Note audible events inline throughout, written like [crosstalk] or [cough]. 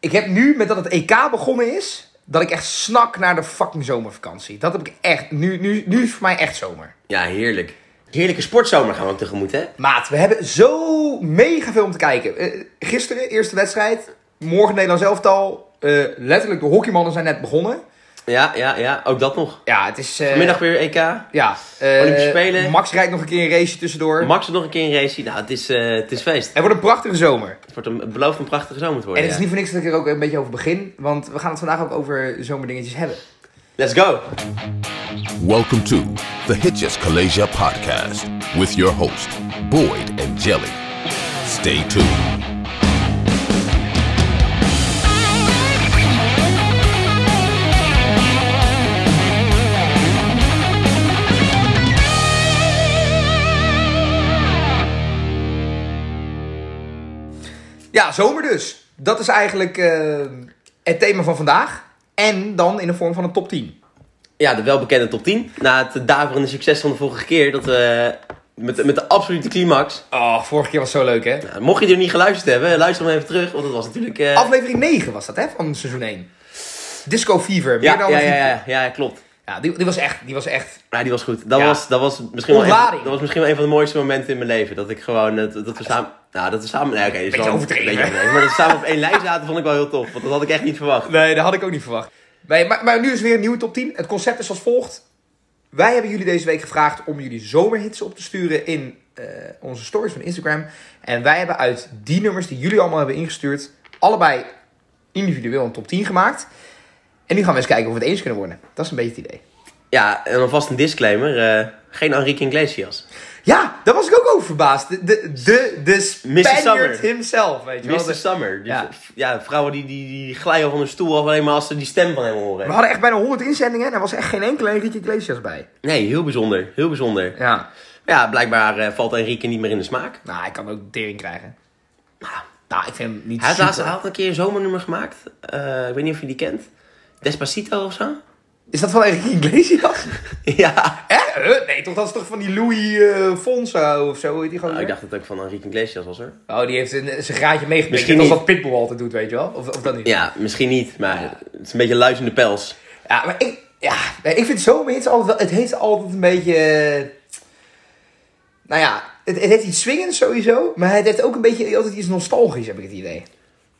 ik heb nu, met dat het EK begonnen is, dat ik echt snak naar de fucking zomervakantie. Dat heb ik echt. Nu, nu, nu is voor mij echt zomer. Ja, heerlijk. Heerlijke sportzomer gaan we ook tegemoet, hè? Maat, we hebben zo mega veel om te kijken. Eh, gisteren, eerste wedstrijd. Morgen Nederlands elftal. Eh letterlijk, de hockeymannen zijn net begonnen. Ja, ja, ja. Ook dat nog. Ja, het is... eh, Vanmiddag weer EK. Ja. eh, Olympische Spelen. Max rijdt nog een keer een race tussendoor. Max er nog een keer een race. Nou, het is, eh, het is feest. het wordt een prachtige zomer. Het wordt een, het belooft een prachtige zomer te En worden. het is ja. niet voor niks dat ik er ook een beetje over begin. Want we gaan het vandaag ook over zomerdingetjes hebben. Let's go. Welcome to the Hitches Kalasia podcast with your host, Boyd and Jelly. Stay tuned. Ja, zomer dus. Dat is eigenlijk eh, het thema van vandaag. En dan in de vorm van een top 10. Ja, de welbekende top 10. Na het daverende succes van de vorige keer. Dat we met, met de absolute climax. Oh, vorige keer was zo leuk, hè? Nou, mocht je er niet geluisterd hebben, luister hem even terug. Want dat was natuurlijk... eh, Aflevering 9 was dat, hè? Van seizoen 1. Disco Fever. Meer ja, dan ja, een ja, griepje. ja, ja, klopt. Ja, die, die was echt... Die was echt Ja, die was goed. Dat, Ja. was, dat, was misschien wel een, Ontlading. dat was misschien wel een van de mooiste momenten in mijn leven. Dat ik gewoon, eh, dat, dat we samen, nou dat we samen, nee oké, dat is Beetje wel een overdreven. beetje overdreven, Maar dat we samen op één lijn zaten vond ik wel heel tof. Want dat had ik echt niet verwacht. nee, dat had ik ook niet verwacht. Nee, maar, maar nu is weer een nieuwe top 10. Het concept is als volgt. Wij hebben jullie deze week gevraagd om jullie zomerhits op te sturen in eh, onze stories van Instagram. En wij hebben uit die nummers die jullie allemaal hebben ingestuurd, allebei individueel een top 10 gemaakt. En nu gaan we eens kijken of we het eens kunnen worden. Dat is een beetje het idee. Ja, en dan vast een disclaimer. eh, geen Enrique Iglesias. Ja, daar was ik ook over verbaasd. De, de, de, de Spaniard Summer. himself, weet je wel. Mr. Summer. Die, Ja. ja. vrouwen die, die, die glijden van hun stoel af alleen maar als ze die stem van hem horen. We hadden echt bijna 100 inzendingen en er was echt geen enkele Enrique Iglesias bij. Nee, heel bijzonder. Heel bijzonder. Ja, Ja. blijkbaar eh, valt Enrique niet meer in de smaak. Nou, hij kan ook tering krijgen. Nou, ik vind hem niet Hij had, laatst, hij super. had een keer een zomernummer gemaakt. Eh, ik weet niet of je die kent. Despacito of zo? [laughs] Is dat van Enrique Iglesias? [laughs] ja. Hè? Huh? Nee, toch? Dat is toch van die Louis eh, Fonso of zo? hoe heet Die gewoon Nou, ik dacht dat het ook van Enrique Iglesias was hoor. Oh, die heeft een, zijn graadje meegepikt. Misschien Dat is niet. wat Pitbull altijd doet, weet je wel? Of, of dat niet? Ja, misschien niet, maar het is een beetje luis in de pels. Ja, maar ik, ja, nee, ik vind zomerhits altijd wel... Het heeft altijd een beetje... eh, Nou ja, het, het heeft iets swingends sowieso. Maar het heeft ook een beetje altijd iets nostalgisch, heb ik het idee.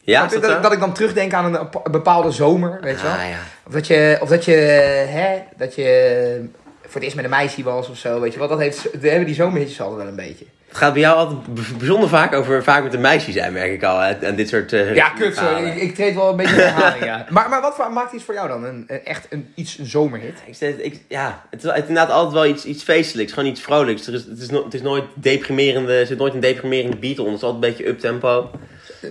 Ja, Ik is vind dat, dat, zo? ik- dat ik dan terugdenk aan een pa- bepaalde zomer, weet je wel. Ah, ja. Of dat je, of dat je, hè, dat je voor het eerst met een meisje was of zo, weet je wel. Dat heeft, we hebben die zomerhitjes altijd wel een beetje. Het gaat bij jou altijd b- bijzonder vaak over vaak met een meisje zijn, merk ik al. hè, En dit soort eh, Ja, kut zo. verhalen. Ik, ik treed wel een beetje in herhaling, [laughs] ja. Maar, maar wat voor- maakt iets voor jou dan? Een, een- echt een, iets, een zomerhit? Ik zeg- ik- ja, het is het is inderdaad altijd wel iets, iets feestelijks, gewoon iets vrolijks. Er is, het, is no- het is nooit deprimerende, er zit nooit een deprimerende beat onder. Het is altijd een beetje uptempo.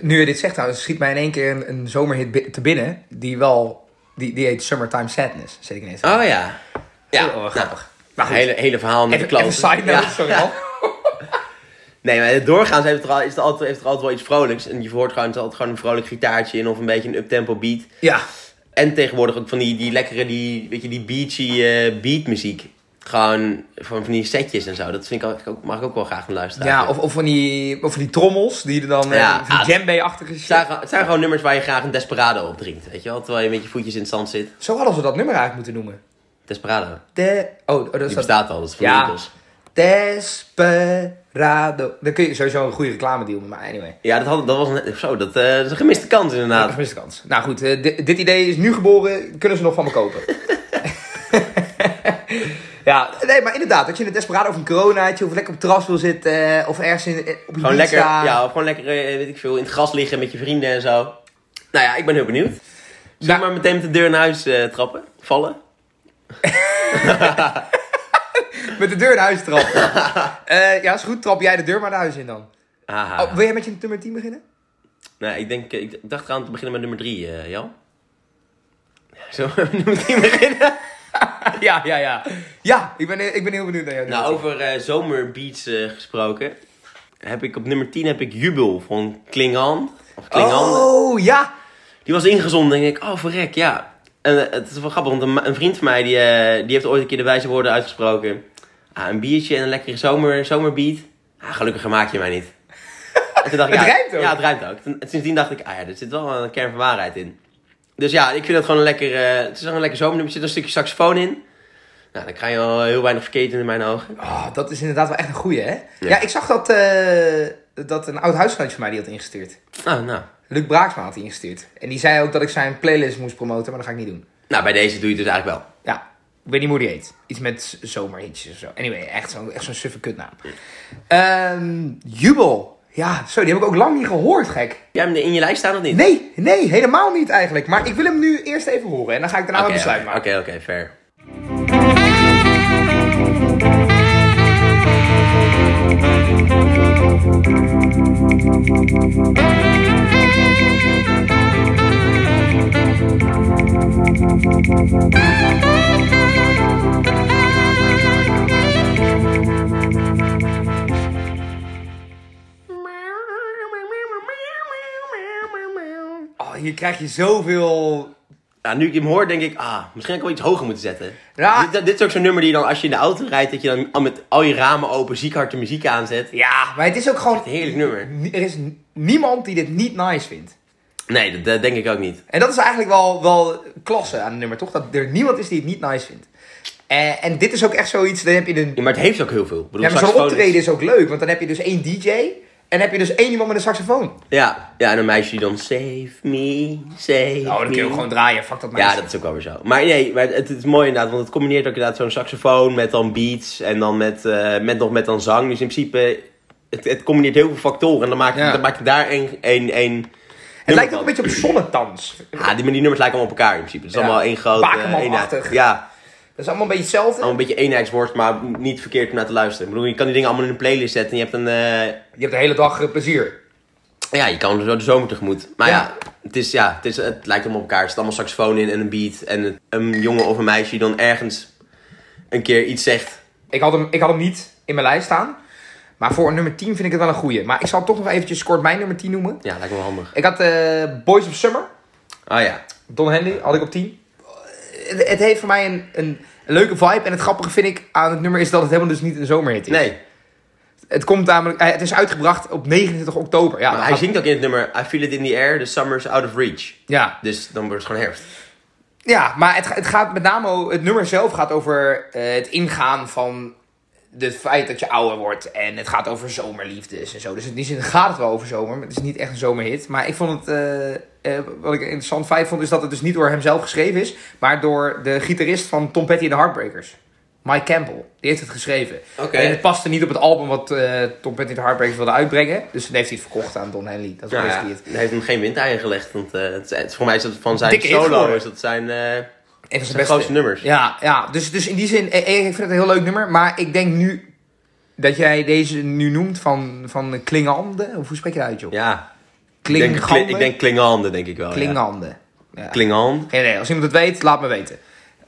Nu je dit zegt trouwens, schiet mij in één keer een, een zomerhit bi- te binnen. Die wel, die, die heet Summertime Sadness, zit ik ineens. Oh ja. Ja, Oh, nou, grappig. maar goed, hele, hele verhaal met even, de klant. even side note, Ja. sorry al. Nee, maar doorgaans heeft er, al, is er altijd, heeft er altijd wel iets vrolijks. En je hoort gewoon, er is altijd gewoon een vrolijk gitaartje in of een beetje een uptempo beat. Ja, En tegenwoordig ook van die, die lekkere, die, weet je, die beachy eh, beatmuziek. Gewoon van, van die setjes en zo. Dat vind ik ook, ook- mag ik ook wel graag naar luisteren. ja of, of, van die, of van die trommels die er dan... Ja, Ja, ah, die djembe-achtige Het shit. zijn, gewoon- het zijn gewoon nummers waar je graag een desperado op drinkt. Weet je wel? Terwijl je met je voetjes in het zand zit. Zo hadden ze dat nummer eigenlijk moeten noemen. Desperado. De... Oh, oh, dat is Die dat- bestaat al. Dat is van Ja. ja. Desperado. Dan kun je sowieso een goede reclame deal met mij, anyway. Ja, dat, had, dat was een, zo, dat, eh, dat is een gemiste kans Dat is inderdaad. best een kans. Nou goed, eh, di- dit idee is nu geboren. Kunnen ze nog van me [laughs] kopen? ja, nee, maar inderdaad. Dat je in het Desperado of een coronaatje of lekker op het terras wil zitten. eh, of ergens in, eh, op je Gewoon lekker, ja, of gewoon lekker eh, weet ik veel, in het gras liggen met je vrienden en zo. Nou ja, ik ben heel benieuwd. Zullen we Nou- maar meteen met de deur naar huis eh, trappen? Vallen? Met de deur naar huis trappen. [laughs] Eh, ja, is goed. Trap jij de deur maar naar huis in dan. Haha. Oh, wil jij met je nummer 10 beginnen? Nou, ik denk, eh, ik dacht eraan te beginnen met nummer 3, eh Jan. [laughs] Zullen we met nummer 3 beginnen? [laughs] ja, ja, ja. Ja, ik ben, ik ben heel benieuwd naar jou. Nou, over eh, zomerbeats eh, gesproken. Heb ik op nummer 10 heb ik Jubel van Klingan. Of Klingan. Oh, ja. Die was ingezonden en ik denk, oh verrek, ja. En eh, het is wel grappig, want een, ma- een vriend van mij die, eh, die heeft ooit een keer de wijze [laughs] woorden uitgesproken. Ah, een biertje en een lekkere zomer, zomerbeat. Ah, gelukkig maak je mij niet. toen dacht ik, Het ja, rijmt ook. Ja, het rijmt ook. Toen- sindsdien dacht ik, ah ja, er zit wel een kern van waarheid in. Dus ja, ik vind het gewoon een lekker, eh, het is gewoon een lekker zomernummer. Er zit een stukje saxofoon in. Nou, dan krijg je al heel weinig verkeerd in mijn ogen. Ah, dat is inderdaad wel echt een goeie, hè? Ja, ik zag dat, eh, dat een oud huisgenootje van mij die had ingestuurd. Ah, nou. Luc Braaksma had die ingestuurd. En die zei ook dat ik zijn playlist moest promoten, maar dat ga ik niet doen. Nou, bij deze doe je het dus eigenlijk wel. Ja, ik weet niet hoe die heet. Iets met z- zomerhitjes of zo. Anyway, echt zo'n echt zo'n suffe kutnaam. Ehm, Jubel. Ja, zo, die heb ik ook lang niet gehoord, gek. Heb jij hem in je lijst staan of niet? Nee, nee, helemaal niet eigenlijk. Maar ik wil hem nu eerst even horen en dan ga ik daarna Oké, een besluit oké, maken. Oké, oké, fair. Oh, hier krijg je zoveel... Nou, nu ik hem hoor, denk ik, ah, misschien had ik wel iets hoger moeten zetten. Ja. Dit, dit is ook zo'n nummer die je dan, als je in de auto rijdt, dat je dan al met al je ramen open ziek hard de muziek aanzet. Ja, maar het is ook gewoon... Heerlijk nummer. Er is n- niemand die dit niet nice vindt. Nee, dat, dat denk ik ook niet. En dat is eigenlijk wel, wel klasse aan het nummer, toch? Dat er niemand is die het niet nice vindt. Eh, en dit is ook echt zoiets, dan heb je een Ja, maar het heeft ook heel veel. Ik Bedoel, Ja, maar zo'n saxofoon is- optreden is ook leuk, want dan heb je dus één DJ en heb je dus één iemand met een saxofoon. Ja, ja, en een meisje die dan, save me, save Oh, dan kun je ook me. gewoon draaien, fuck dat meisje. Ja, dat is ook wel weer zo. Maar nee, maar het, het is mooi inderdaad, want het combineert ook inderdaad zo'n saxofoon met dan beats en dan met, eh, met nog met dan zang. Dus in principe, het, het combineert heel veel factoren en dan maakt, Ja. dan maakt het daar één... één, één het lijkt ook een beetje op zonnetans. Ja, die, maar die nummers lijken allemaal op elkaar in principe. Het is Ja. allemaal één grote Bakerman-achtig. eenheid. Ja, Dat is allemaal een beetje hetzelfde. allemaal een beetje eenheidsworst, maar niet verkeerd om naar te luisteren. Ik bedoel, je kan die dingen allemaal in een playlist zetten en je hebt een... eh, Je hebt de hele dag eh, plezier. ja, je kan zo de zomer tegemoet. Maar ja, Ja. het, is, ja het, is, het lijkt allemaal op elkaar. Er zit allemaal saxofoon in en een beat. En het- een jongen of een meisje die dan ergens een keer iets zegt. Ik had, hem, ik had hem niet in mijn lijst staan, maar voor een nummer 10 vind ik het wel een goeie. Maar ik zal toch nog eventjes kort mijn nummer 10 noemen. Ja, lijkt me wel handig. Ik had eh, Boys of Summer, Ah ja. Don Henley, had ik op 10. Het, het heeft voor mij een, een, een leuke vibe en het grappige vind ik aan het nummer is dat het helemaal dus niet een zomerhit is. Nee, Het, komt namelijk, eh, het is uitgebracht op 29 oktober. Ja, maar dan hij gaat- zingt ook in het nummer I feel it in the air, the summer's out of reach. ja. Dus dan wordt het gewoon herfst. Ja, maar het, het gaat met name, o- het nummer zelf gaat over eh, het ingaan van het feit dat je ouder wordt. En het gaat over zomerliefdes en zo. Dus in die zin gaat het wel over zomer, maar het is niet echt een zomerhit. Maar ik vond het, eh, eh, wat ik een interessant feit vond, is dat het dus niet door hemzelf geschreven is. Maar door de gitarist van Tom Petty en de Heartbreakers. Mike Campbell, die heeft het geschreven. Oké. En het paste niet op het album wat eh, Tom Petty en de Heartbreakers wilde uitbrengen. Dus toen heeft hij het verkocht aan Don Henley. Dat is Nou ja, basically het. hij heeft hem geen windeieren gelegd. Want, eh, het, is- het is- voor mij is dat van zijn Dikke hit solo. geworden. Is dat zijn, eh, Een van zijn zijn beste grootste nummers. Ja, ja. Dus, dus in die zin, eh, eh, ik vind het een heel leuk nummer. Maar ik denk nu dat jij deze nu noemt van, van Klingande. Of hoe spreek je dat uit, joh? Ja. Ik denk, Klingande. ik denk Klingande, denk ik wel. Ja. Klingande. Ja. Klingan. Geen idee. Als iemand het weet, laat me weten.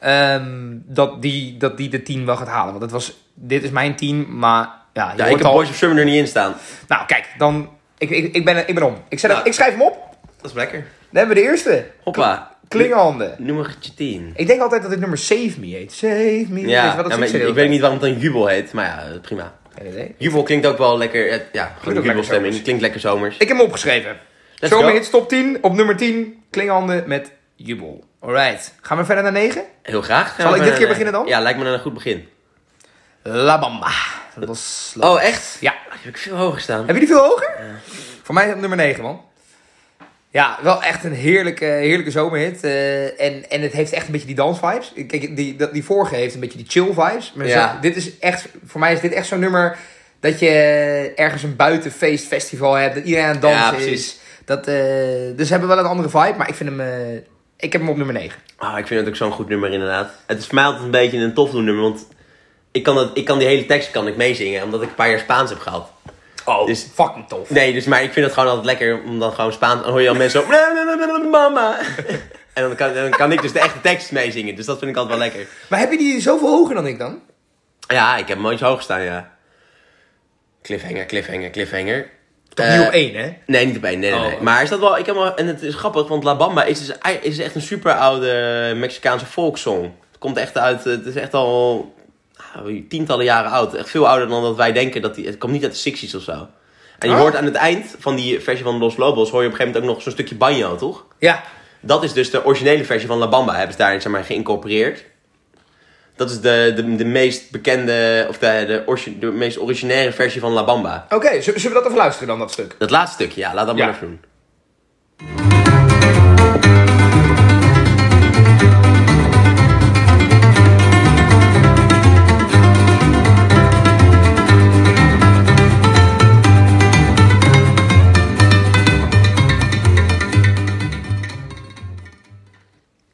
Ehm, dat, die, dat die de 10 wel gaat halen. Want het was, dit is mijn 10, maar ja, je Ja, ik hoort heb al... Boys of Summer er niet in staan. Nou, kijk, dan... Ik, ik, ik, ben, ik ben om. Ik, zet Nou. hem- ik schrijf hem op. Dat is lekker. Dan hebben we de eerste. Hoppa. Klingande. Nummer 10. Ik denk altijd dat dit nummer Save Me heet. Save Me. Weet je Ja, wel, dat ja, maar zingen ik, ze de hele ik weet tijd. niet waarom het dan Jubel heet, maar ja, eh, prima. Geen idee. Jubel klinkt ook wel lekker, eh, ja, gewoon ook lekker jubelstemming. zomers. Klinkt lekker zomers. Ik heb hem opgeschreven. Let's Zomer go. hits top 10. Op nummer 10, Klinghanden met Jubel. Alright. Gaan we verder naar 9? Heel graag. Zal ik dit Maar, keer eh, beginnen dan? Ja, lijkt me een goed begin. La Bamba. Los La Oh, echt? Ja. Ah, die heb ik veel hoger staan. Hebben jullie veel hoger? Voor mij is het op nummer 9, man. Ja, wel echt een heerlijke, heerlijke zomerhit. Eh, en, en het heeft echt een beetje die dansvibes. Kijk, die, dat, die vorige heeft een beetje die chill vibes. Maar Ja. zo- dit is echt, voor mij is dit echt zo'n nummer dat je ergens een buitenfeest festival hebt. Dat iedereen aan het Ja, dansen precies. is. Dat, eh, dus ze hebben wel een andere vibe, maar ik vind hem, eh, ik heb hem op nummer 9. Ah, ik vind het ook zo'n goed nummer inderdaad. Het is voor mij altijd een beetje een tofdoen nummer, want ik kan, dat, ik kan die hele tekst kan ik meezingen, omdat ik een paar jaar Spaans heb gehad. Oh, Dus- fucking tof. Nee, dus, maar ik vind het gewoon altijd lekker om dan gewoon Spaans... Dan hoor je al mensen zo... Mama. [laughs] En dan kan, dan kan ik dus de echte tekst meezingen, dus dat vind ik altijd wel lekker. Maar heb je die zoveel hoger dan ik dan? Ja, ik heb hem iets hoog staan, ja. Cliffhanger, cliffhanger, cliffhanger. Toch Eh, niet op één, hè? Nee, niet op één. Nee, nee, Oh. nee. Maar is dat wel... Ik heb wel en het is grappig, want La Bamba is, dus, ei- is echt een super oude Mexicaanse folksong. Het komt echt uit... eh, Het is echt al ah, tientallen jaren oud. Echt veel ouder dan dat wij denken. Dat die, het komt niet uit de 60s of zo. En je Oh. hoort aan het eind van die versie van Los Lobos... hoor je op een gegeven moment ook nog zo'n stukje banjo, toch? Ja. Dat is dus de originele versie van La Bamba. Hebben ze daarin zeg maar, geïncorporeerd. Dat is de, de, de meest bekende, of de, de, orgi- de meest originaire versie van La Bamba. Oké, z- zullen we dat even luisteren dan, dat stuk? Dat laatste stukje, ja, laat dat Ja. maar even doen.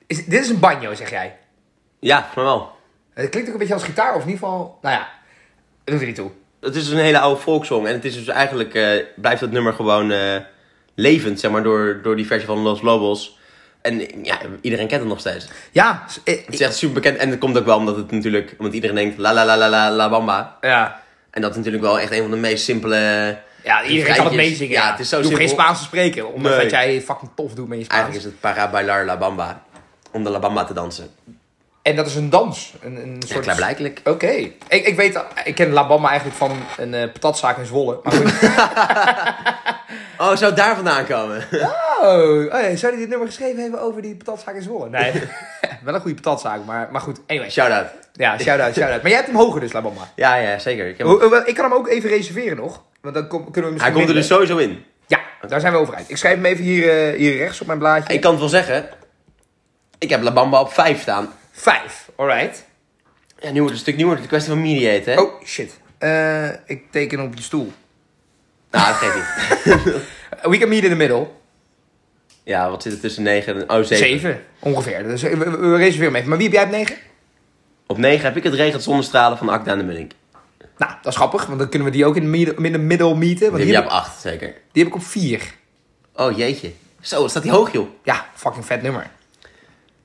Is, dit is een banjo, zeg jij. Ja, maar wel. Eh, Het klinkt ook een beetje als gitaar, of in ieder geval... Nou ja, dat doet er niet toe. Het is dus een hele oude volkszong en het is dus eigenlijk, eh, blijft dat nummer gewoon eh, levend, zeg maar, door, door die versie van Los Lobos. En ja, iedereen kent het nog steeds. Het Ja, s- eh, is echt super bekend en dat komt ook wel omdat het natuurlijk, omdat iedereen denkt la la la la la la bamba. ja. En dat is natuurlijk wel echt een van de meest simpele... ja iedereen kan het refreintjes. meezingen. Ja, het is zo Je hoeft simpel. geen Spaans te spreken, omdat Nee. dat jij fucking tof doet met je Spaans. Eigenlijk is het para bailar la bamba, om de la bamba te dansen. En dat is een dans. Een, een soort... klaarblijkelijk. Oké. Ik, ik weet, ik ken La Bamba eigenlijk van een eh, patatzaak in Zwolle. Maar goed. Oh, zou het daar vandaan [laughs] komen? [laughs] oh, oh ja, zou die dit nummer geschreven hebben over die patatzaak in Zwolle? Nee. [laughs] Wel een goede patatzaak, maar, maar goed. Anyway. Shout-out. Ja, shout-out, shout-out. Maar jij hebt hem hoger dus, La Bamba. Ja, ja, zeker. Ik heb- Hoe- hoe- Ik kan hem ook even reserveren nog. Want dan kom- kunnen we Hij misschien komt er dus winnen. sowieso in. Ja, daar zijn we over uit. Ik schrijf hem even hier, eh, hier rechts op mijn blaadje. Ik kan het wel zeggen, ik heb la bamba op 5 staan. Vijf, alright. Ja, nu wordt het een stuk nieuw, wordt het een kwestie van mediate, hè? Oh, shit. Eh, ik teken op je stoel. Eh, Nou, dat geeft niet. We can meet in the middle. Ja, wat zit er tussen 9 en... Oh, 7. Zeven, ongeveer. Dus eh, we, we- we reserveren hem even. Maar wie heb jij op negen? Op 9 heb ik het regent zonnestralen van Akda en de Munnik. Nou, dat is grappig, want dan kunnen we die ook in de middel, in de middel meeten. Want Die die, heb heb je op ik, 8, zeker. die heb ik op vier. Oh, jeetje. Zo, staat die hoog, joh. Ja, fucking vet nummer.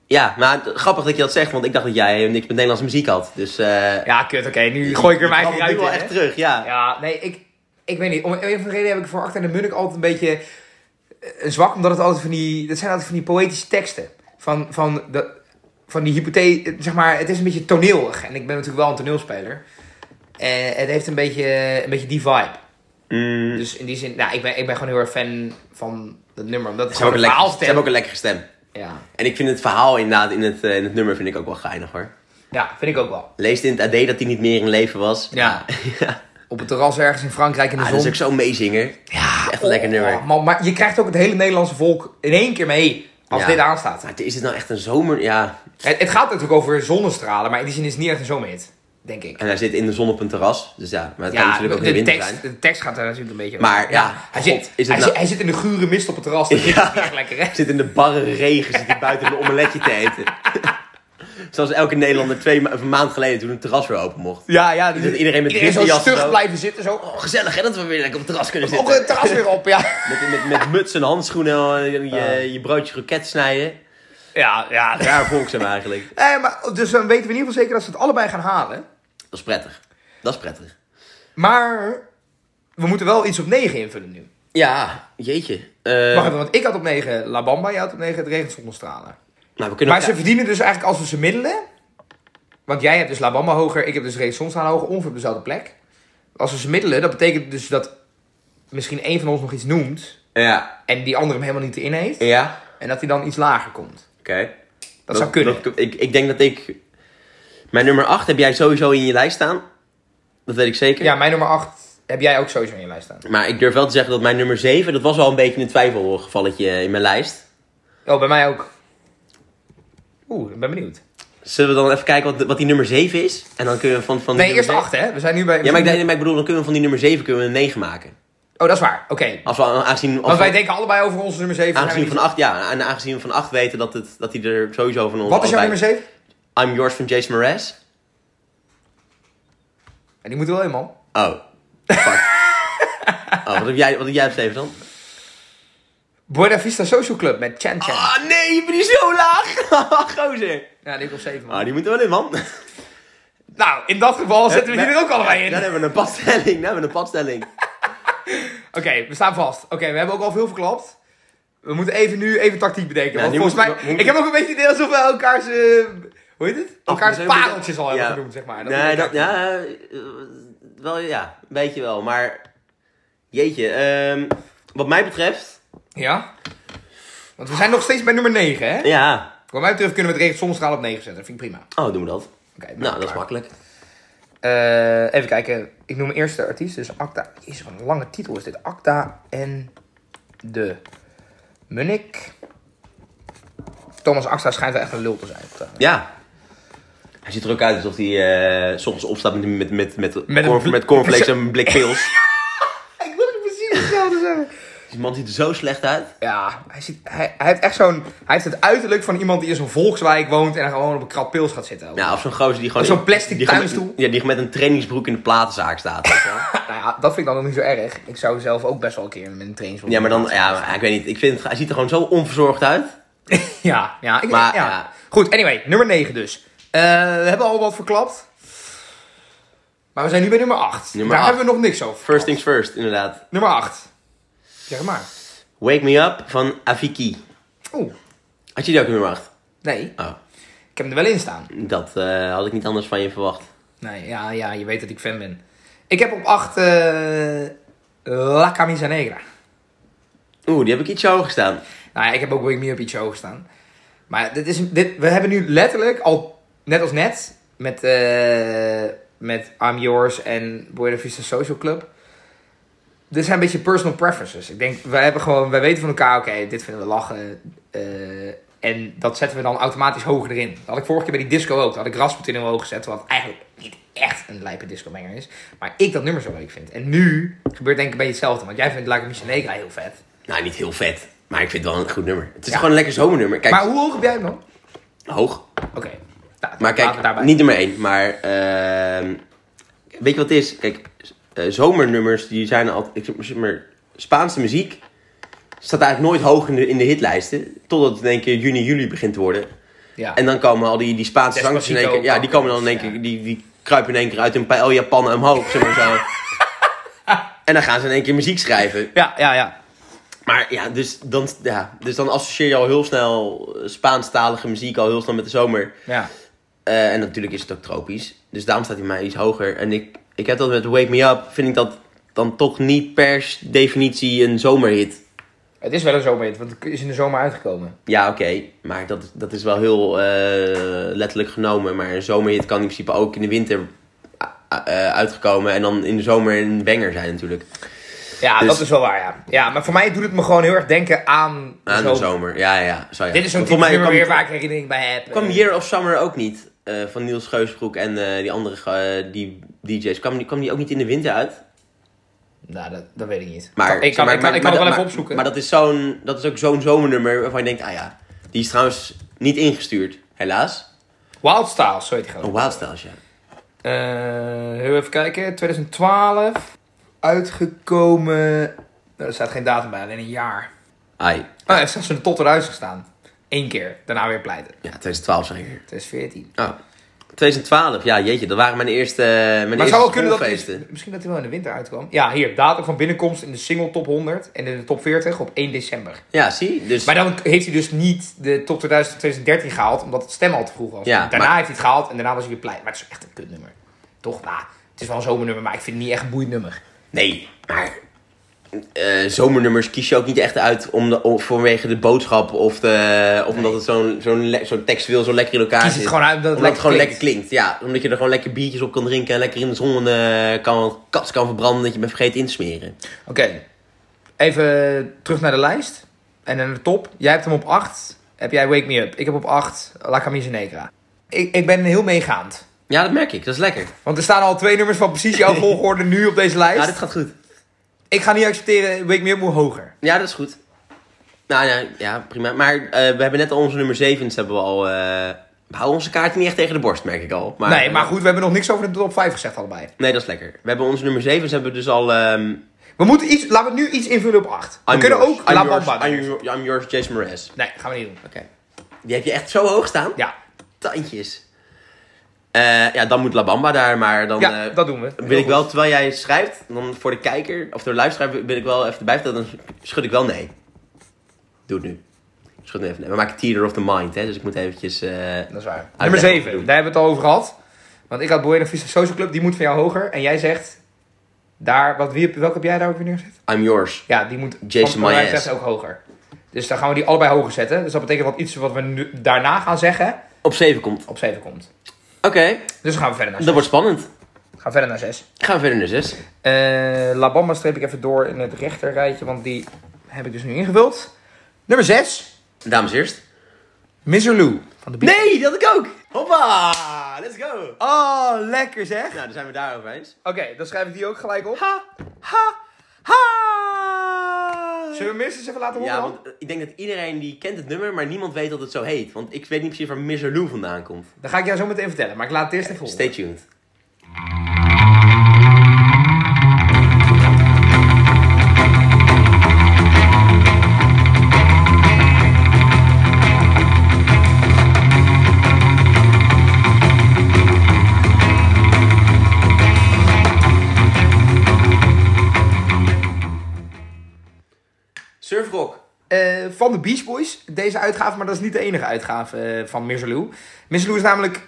Ja, maar d- grappig dat je dat zegt, want ik dacht dat jij niks met Nederlandse muziek had. Dus eh Ja, kut, oké. nu gooi ik er je mijn kwam eigen uit. nu wel in, echt hè? terug, ja. Ja, nee, ik, ik weet niet. Om een of andere reden heb ik voor Acta en de Munnik altijd een beetje eh, een zwak. Omdat het altijd van die... Dat zijn altijd van die poëtische teksten. Van, van, de, van die hypothese... Zeg maar, het is een beetje toneelig. En ik ben natuurlijk wel een toneelspeler. En het heeft een beetje, een beetje die vibe. Mm, Dus in die zin... Nou, ik ben, ik ben gewoon heel erg fan van dat nummer. Omdat het ze, hebben ook gewoon een een lekker, ze verhaalstem... hebben ook een lekkere stem. Ja. En ik vind het verhaal inderdaad in het, eh, in het nummer vind ik ook wel geinig, hoor. ja, vind ik ook wel. Leest in het AD dat hij niet meer in leven was. Ja. ja. Op het terras ergens in Frankrijk in de Ah, zon. dat is ook zo'n meezinger. ja, echt een lekker nummer. Maar, Oh, maar je krijgt ook het hele Nederlandse volk in één keer mee als Ja. dit aanstaat. Maar is het nou echt een zomer... Ja, Het, het gaat natuurlijk over zonnestralen, maar in die zin is het niet echt een zomerhit, denk ik. En hij zit in de zon op een terras. Dus ja, maar het kan natuurlijk ook in de de, winter tekst, zijn. de tekst gaat daar natuurlijk een beetje over. Maar ja, hij, god, zit, is het hij, nou- zit, hij zit in de gure mist op het terras. Dat is Ja. niet echt lekker, hè? Zit in de barre regen, zit hij buiten een omeletje te eten. [laughs] Zoals elke Nederlander twee ma- of een maand geleden toen het terras weer open mocht. Ja, ja. zit iedereen met iedereen zo winterjas stug zo. blijven zitten, zo. Oh, gezellig hè, dat we weer lekker op het terras kunnen Ook zitten. het terras weer op, ja. Met, met, met muts en handschoenen, eh, je, je broodje kroket snijden. Ja, ja. Raar volk zijn we eigenlijk. Eh, maar, dus dan weten we in ieder geval zeker dat ze het allebei gaan halen. Dat is prettig. Dat is prettig. Maar we moeten wel iets op 9 invullen nu. Ja, jeetje. Eh, Wacht even, want ik had op 9 La Bamba, jij had op 9 Het regent zonder stralen. nou, we kunnen Maar ze verdienen dus eigenlijk als we ze middelen. Want jij hebt dus La Bamba hoger, ik heb dus Regent Zonstaan hoger, ongeveer op dezelfde plek. Als we ze middelen, dat betekent dus dat misschien één van ons nog iets noemt. Ja, En die andere hem helemaal niet in heeft. ja. En dat hij dan iets lager komt. oké. Dat, zou kunnen. dat- ik, ik denk dat ik... Mijn nummer 8 heb jij sowieso in je lijst staan. Dat weet ik zeker. Ja, mijn nummer 8 heb jij ook sowieso in je lijst staan. Maar ik durf wel te zeggen dat mijn nummer 7, dat was wel een beetje een twijfelgevalletje in mijn lijst. Oh, bij mij ook. Oeh, ik ben benieuwd. Zullen we dan even kijken wat, wat die nummer 7 is? En dan kunnen we van, van die Nee, eerst nummer 8 hè? We zijn nu bij... zeven- Ja, maar ik, denk- maar ik bedoel, dan kunnen we van die nummer 7 kunnen we een 9 maken. Oh, dat is waar. Oké. Als we aangezien, als Want we- wij denken allebei over onze nummer 7. aangezien van 8, ja, en aangezien we van 8 weten dat, het, dat hij er sowieso van ons Wat is jouw allebei- nummer 7? I'm Yours van Jason Mraz. En die moet wel helemaal. Oh, [laughs] fuck. oh, wat heb jij, wat heb jij op 7 dan? Buena Vista Social Club met Chan Chan. Ah, nee, je bent niet zo laag. [laughs] Gozer. Ja, die heb ik op 7 man. Ah, die moeten wel in, man. Nou, in dat geval Eh, zetten we die er ook allebei in. Dan Oké, hebben we een padstelling, dan hebben we een padstelling. we staan vast. Oké, we hebben ook al veel verklapt. We moeten even nu even tactiek bedenken. want nu volgens mij, moeten we- moeten ik heb ook een beetje het idee alsof we elkaars, eh, hoe heet het? Elkaars Dus we moeten- pareltjes al hebben genoemd, zeg maar. nee, moet dat, ik- ja, eh, wel, ja, een beetje wel. Maar Jeetje, ehm, wat mij betreft, Ja? Want we zijn nog steeds bij nummer 9, hè? ja. Wat mij betreft kunnen we het regel zonnestraal op 9 zetten. Vind ik prima. Oh, doen we dat. Oké, nou, dat is makkelijk. Eh, even kijken. Ik noem eerst de artiest. Dus Acta. Jezus, wat een lange titel is dit. Acta en de Munnik. Thomas Acta schijnt wel echt een lul te zijn. Ja. Hij ziet er ook uit alsof hij eh, soms opstaat met, met, met, met, [laughs] Met met, een corn, blik- met cornflakes en een blik pils. Ik wil het precies hetzelfde zeggen. Die man ziet er zo slecht uit. [laughs] Ja, hij, ziet, hij, hij heeft echt zo'n... Hij heeft het uiterlijk van iemand die in zo'n volkswijk woont... en dan gewoon op een krat pils gaat zitten. Ja, of Nou, zo'n gozer die gewoon... Of zo'n plastic die gewoon- tuinstoel. Ja, die met een trainingsbroek in de platenzaak staat. weet je wel. Nou ja, dat vind ik dan nog niet zo erg. Ik zou zelf ook best wel een keer met een trainingsbroek... ja, maar dan... Ja, ik weet niet. Ik vind, het- hij ziet er gewoon zo onverzorgd uit. [laughs] Ja, ja, ik, Maar, ja. ja. Goed, anyway, nummer 9 dus. Eh, we hebben al wat verklapt. Maar we zijn nu bij nummer 8. Nummer Daar acht. hebben we nog niks over. First things first, inderdaad. Nummer 8. Zeg het maar. Wake Me Up van Avicii. Oeh, Had je die ook nummer 8? nee. Oh, Ik heb hem er wel in staan. dat eh, had ik niet anders van je verwacht. Nee, ja, ja, je weet dat ik fan ben. Ik heb op 8 eh, La Camisa Negra. Oeh, die heb ik iets hoger staan. Nou ja, ik heb ook Wake Me Up iets hoog staan. Maar dit is, dit, we hebben nu letterlijk al, net als net, met, eh, met I'm Yours en Buena Vista Social Club. Dit zijn een beetje personal preferences. Ik denk, wij, hebben gewoon, wij weten van elkaar, oké, dit vinden we lachen. eh, en dat zetten we dan automatisch hoger erin. Dat had ik vorige keer bij die disco ook. Dat had ik Rasputin heel hoog gezet, wat eigenlijk niet echt een lijpe disco-menger is. Maar ik dat nummer zo leuk vind. En nu gebeurt denk ik een beetje hetzelfde. Want jij vindt La Camisa Negra heel vet. Nou, niet heel vet. Maar ik vind het wel een goed nummer. Het is Ja. gewoon een lekker zomernummer. Kijk, Maar hoe hoog heb jij hem dan? hoog. Oké. Nou, Maar laten we kijk, daarbij. niet nummer één. Maar ehm, weet je wat het is? Kijk, eh, zomernummers die zijn altijd... Ik zeg maar, Spaanse muziek staat eigenlijk nooit hoog in de, in de hitlijsten. Totdat het in één keer juni, juli begint te worden. Ja. En dan komen al die, die Spaanse zangers in één keer... Despacito, Ja, die komen dan in één ja. keer... Die, die kruipen in één keer uit hun paella Japan omhoog, zeg maar zo. en dan gaan ze in één keer muziek schrijven. ja, ja, ja. Maar ja dus, dan, ja, dus dan associeer je al heel snel eh, Spaanstalige muziek al heel snel met de zomer. Ja. Eh, en natuurlijk is het ook tropisch. Dus daarom staat hij mij iets hoger. En ik, ik heb dat met Wake Me Up, vind ik dat dan toch niet per definitie een zomerhit. Het is wel een zomerhit, want het is in de zomer uitgekomen. Ja, oké, maar dat, dat is wel heel eh, letterlijk genomen. Maar een zomerhit kan in principe ook in de winter eh, eh, uitgekomen. En dan in de zomer een banger zijn natuurlijk. Ja, Dus- dat is wel waar, ja. Ja, maar voor mij doet het me gewoon heel erg denken aan de Aan de zomer. zomer, ja, ja. Zo, ja. Dit is zo'n Want typisch nummer kwam- weer waar ik herinnering bij heb. kwam Eh, Year of Summer ook niet. eh, van Niels Geusbroek en eh, die andere eh, die DJ's. Kwam die, kwam die ook niet in de winter uit? Nou, dat, dat weet ik niet. Maar, ik kan, maar- ik kan, maar- ik kan het wel maar- even maar- opzoeken. Maar dat is, zo'n, dat is ook zo'n zomernummer waarvan je denkt, ah ja, die is trouwens niet ingestuurd, helaas. Wild Styles, zo heet die Een gewoon. Wild Styles, ja. Eh, heel even kijken. 2012. Uitgekomen... Nou, er staat geen datum bij, alleen een jaar. Ai, Oh, ja, zelfs een tot eruit gestaan. Eén keer. Daarna weer pleiten. ja, 2012 zeker. 2014. Oh. 2012, ja, jeetje, dat waren mijn eerste, eh, mijn Maar eerste zou wel kunnen dat schoolfeesten. misschien dat hij wel in de winter uitkwam. Ja, hier datum van binnenkomst in de single top 100 en in de top 40 op 1 december. Ja, zie, dus... Maar dan heeft hij dus niet de top 2000 2013 gehaald omdat het stem al te vroeg was. Ja, Daarna maar- heeft hij het gehaald en daarna was hij weer pleit. Maar het is echt een kutnummer. Toch? Nou, het is wel een zomernummer, maar ik vind het niet echt een boeiend nummer. Nee, maar eh, zomernummers kies je ook niet echt uit om de, om- vanwege de boodschap of, de, of omdat het zo'n zo'n le- zo'n textueel zo lekker in elkaar Kies het zit. gewoon uit omdat het lekker gewoon klinkt. lekker klinkt. Ja, omdat je er gewoon lekker biertjes op kan drinken en lekker in de zon eh, kan, kast kan verbranden dat je bent vergeten in te smeren. Oké, even terug naar de lijst en naar de top. Jij hebt hem op 8. Heb jij Wake Me Up? Ik heb op 8 La Camisa Negra. Ik, ik ben heel meegaand. Ja, dat merk ik. Dat is lekker. Want er staan al twee nummers van precies [laughs] jouw volgorde nu op deze lijst. Ja, dit gaat goed. Ik ga niet accepteren, Wake Me Up moet hoger. Ja, dat is goed. Nou ja, ja prima. Maar eh, we hebben net al onze nummer 7, dus hebben we al... eh, we houden onze kaarten niet echt tegen de borst, merk ik al. Maar, eh, nee, maar goed, we hebben nog niks over de top 5 gezegd allebei. Nee, dat is lekker. We hebben onze nummer 7, hebben we dus al... ehm, We moeten iets, laten we nu iets invullen op 8. We I'm kunnen yours. ook I'm La yours. Bamba I'm, doen. your- I'm yours, Jason Mraz. Oké. Nee, gaan we niet doen. Die heb je echt zo hoog staan? Ja, Tandjes. Eh, ja, dan moet La Bamba daar, maar dan... ja eh, dat doen we. Wil ik wel, terwijl jij schrijft, dan voor de kijker, of de luisteraar, wil ik wel even erbij vertellen, dan schud ik wel nee. Doe het nu. Schud nu even nee. We maken theater of the mind, hè, dus ik moet eventjes... eh, Dat is waar. Uitleg Nummer wat we 7, doen. daar hebben we het al over gehad. Want ik had Buena Vista Social Club, die moet van jou hoger. En jij zegt Daar, wat, wie, heb- welke heb jij daar ook weer neergezet? I'm yours. Ja, die moet Jason wat mij Myers. betreft ook hoger. Dus dan gaan we die allebei hoger zetten. Dus dat betekent dat iets wat we nu, daarna gaan zeggen Op 7 komt. op 7 komt. Oké, Dus dan gaan we verder naar dat 6. wordt spannend. Gaan we verder naar 6. Gaan we verder naar 6. Eh Labamba streep ik even door in het rechterrijtje, want die heb ik dus nu ingevuld. Nummer 6, Dames eerst. Mr. Lou van de Beatles. Nee, dat had ik ook. Hoppa, let's go. Oh, lekker zeg. Nou, dan zijn we daarover eens. Oké, dan schrijf ik die ook gelijk op. Ha, ha, ha. Zullen we Mr. eens even laten horen? Ja, dan? want eh, ik denk dat iedereen die kent het nummer, maar niemand weet dat het zo heet. Want ik weet niet precies waar Mr. Lou vandaan komt. Dan ga ik jou zo meteen vertellen, maar ik laat het eerst even horen. Stay tuned. Surfrock. Eh, van de Beach Boys, deze uitgave, maar dat is niet de enige uitgave eh, van Mr. Lou. Mr. Lou is namelijk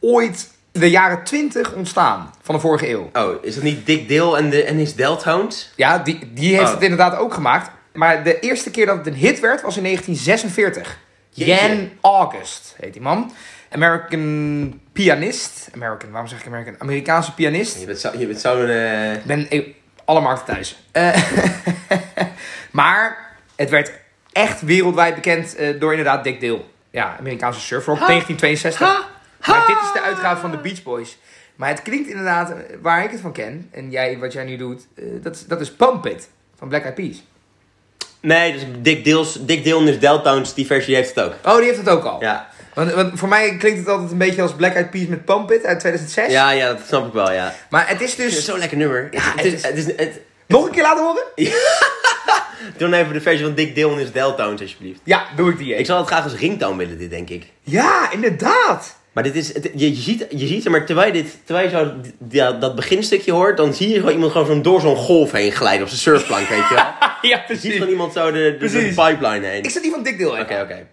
ooit in de jaren 20 ontstaan van de vorige eeuw. Oh, is dat niet Dick Dale en, de, en his Deltones? Ja, die, die heeft Oh. het inderdaad ook gemaakt. Maar de eerste keer dat het een hit werd, was in 1946. Jeetje. Jan August heet die man. American pianist. American, waarom zeg ik American? Amerikaanse pianist. Je bent zo- je bent zo'n... eh, Ik ben e- alle markten thuis. Eh, [laughs] maar het werd echt wereldwijd bekend eh, door inderdaad Dick Dale. Ja, Amerikaanse surfrock, 1962. Maar dit is de uitgave van de Beach Boys. Maar het klinkt inderdaad, eh, waar ik het van ken, en jij, wat jij nu doet, eh, dat, is- dat is Pump It van Black Eyed Peas. Nee, dus Dick Dale's, Dick Dale en his Deltones, die versie heeft het ook. Oh, die heeft het ook al. Ja. Want, want voor mij klinkt het altijd een beetje als Black Eyed Peas met Pump It uit 2006. Ja, ja, dat snap ik wel, ja. Maar het is Het is dus... zo'n lekker nummer. Ja, het is... Het is het, Nog een keer laten horen? doe dan even de versie van Dick Dale en his Deltones, alsjeblieft. Ja, doe ik die Ik even. zou het graag als ringtone willen, dit, denk ik. Ja, inderdaad. Maar dit is... Het, je, je ziet, je ziet het, maar terwijl je, dit, terwijl je zo, d- ja, dat beginstukje hoort, dan zie je gewoon iemand gewoon zo'n, door zo'n golf heen glijden op zijn surfplank, weet [laughs] je wel. Ja, Je ziet gewoon iemand zo de, de, de Precies. pipeline heen. Ik Oké, zet die van Dick Dale even. oké.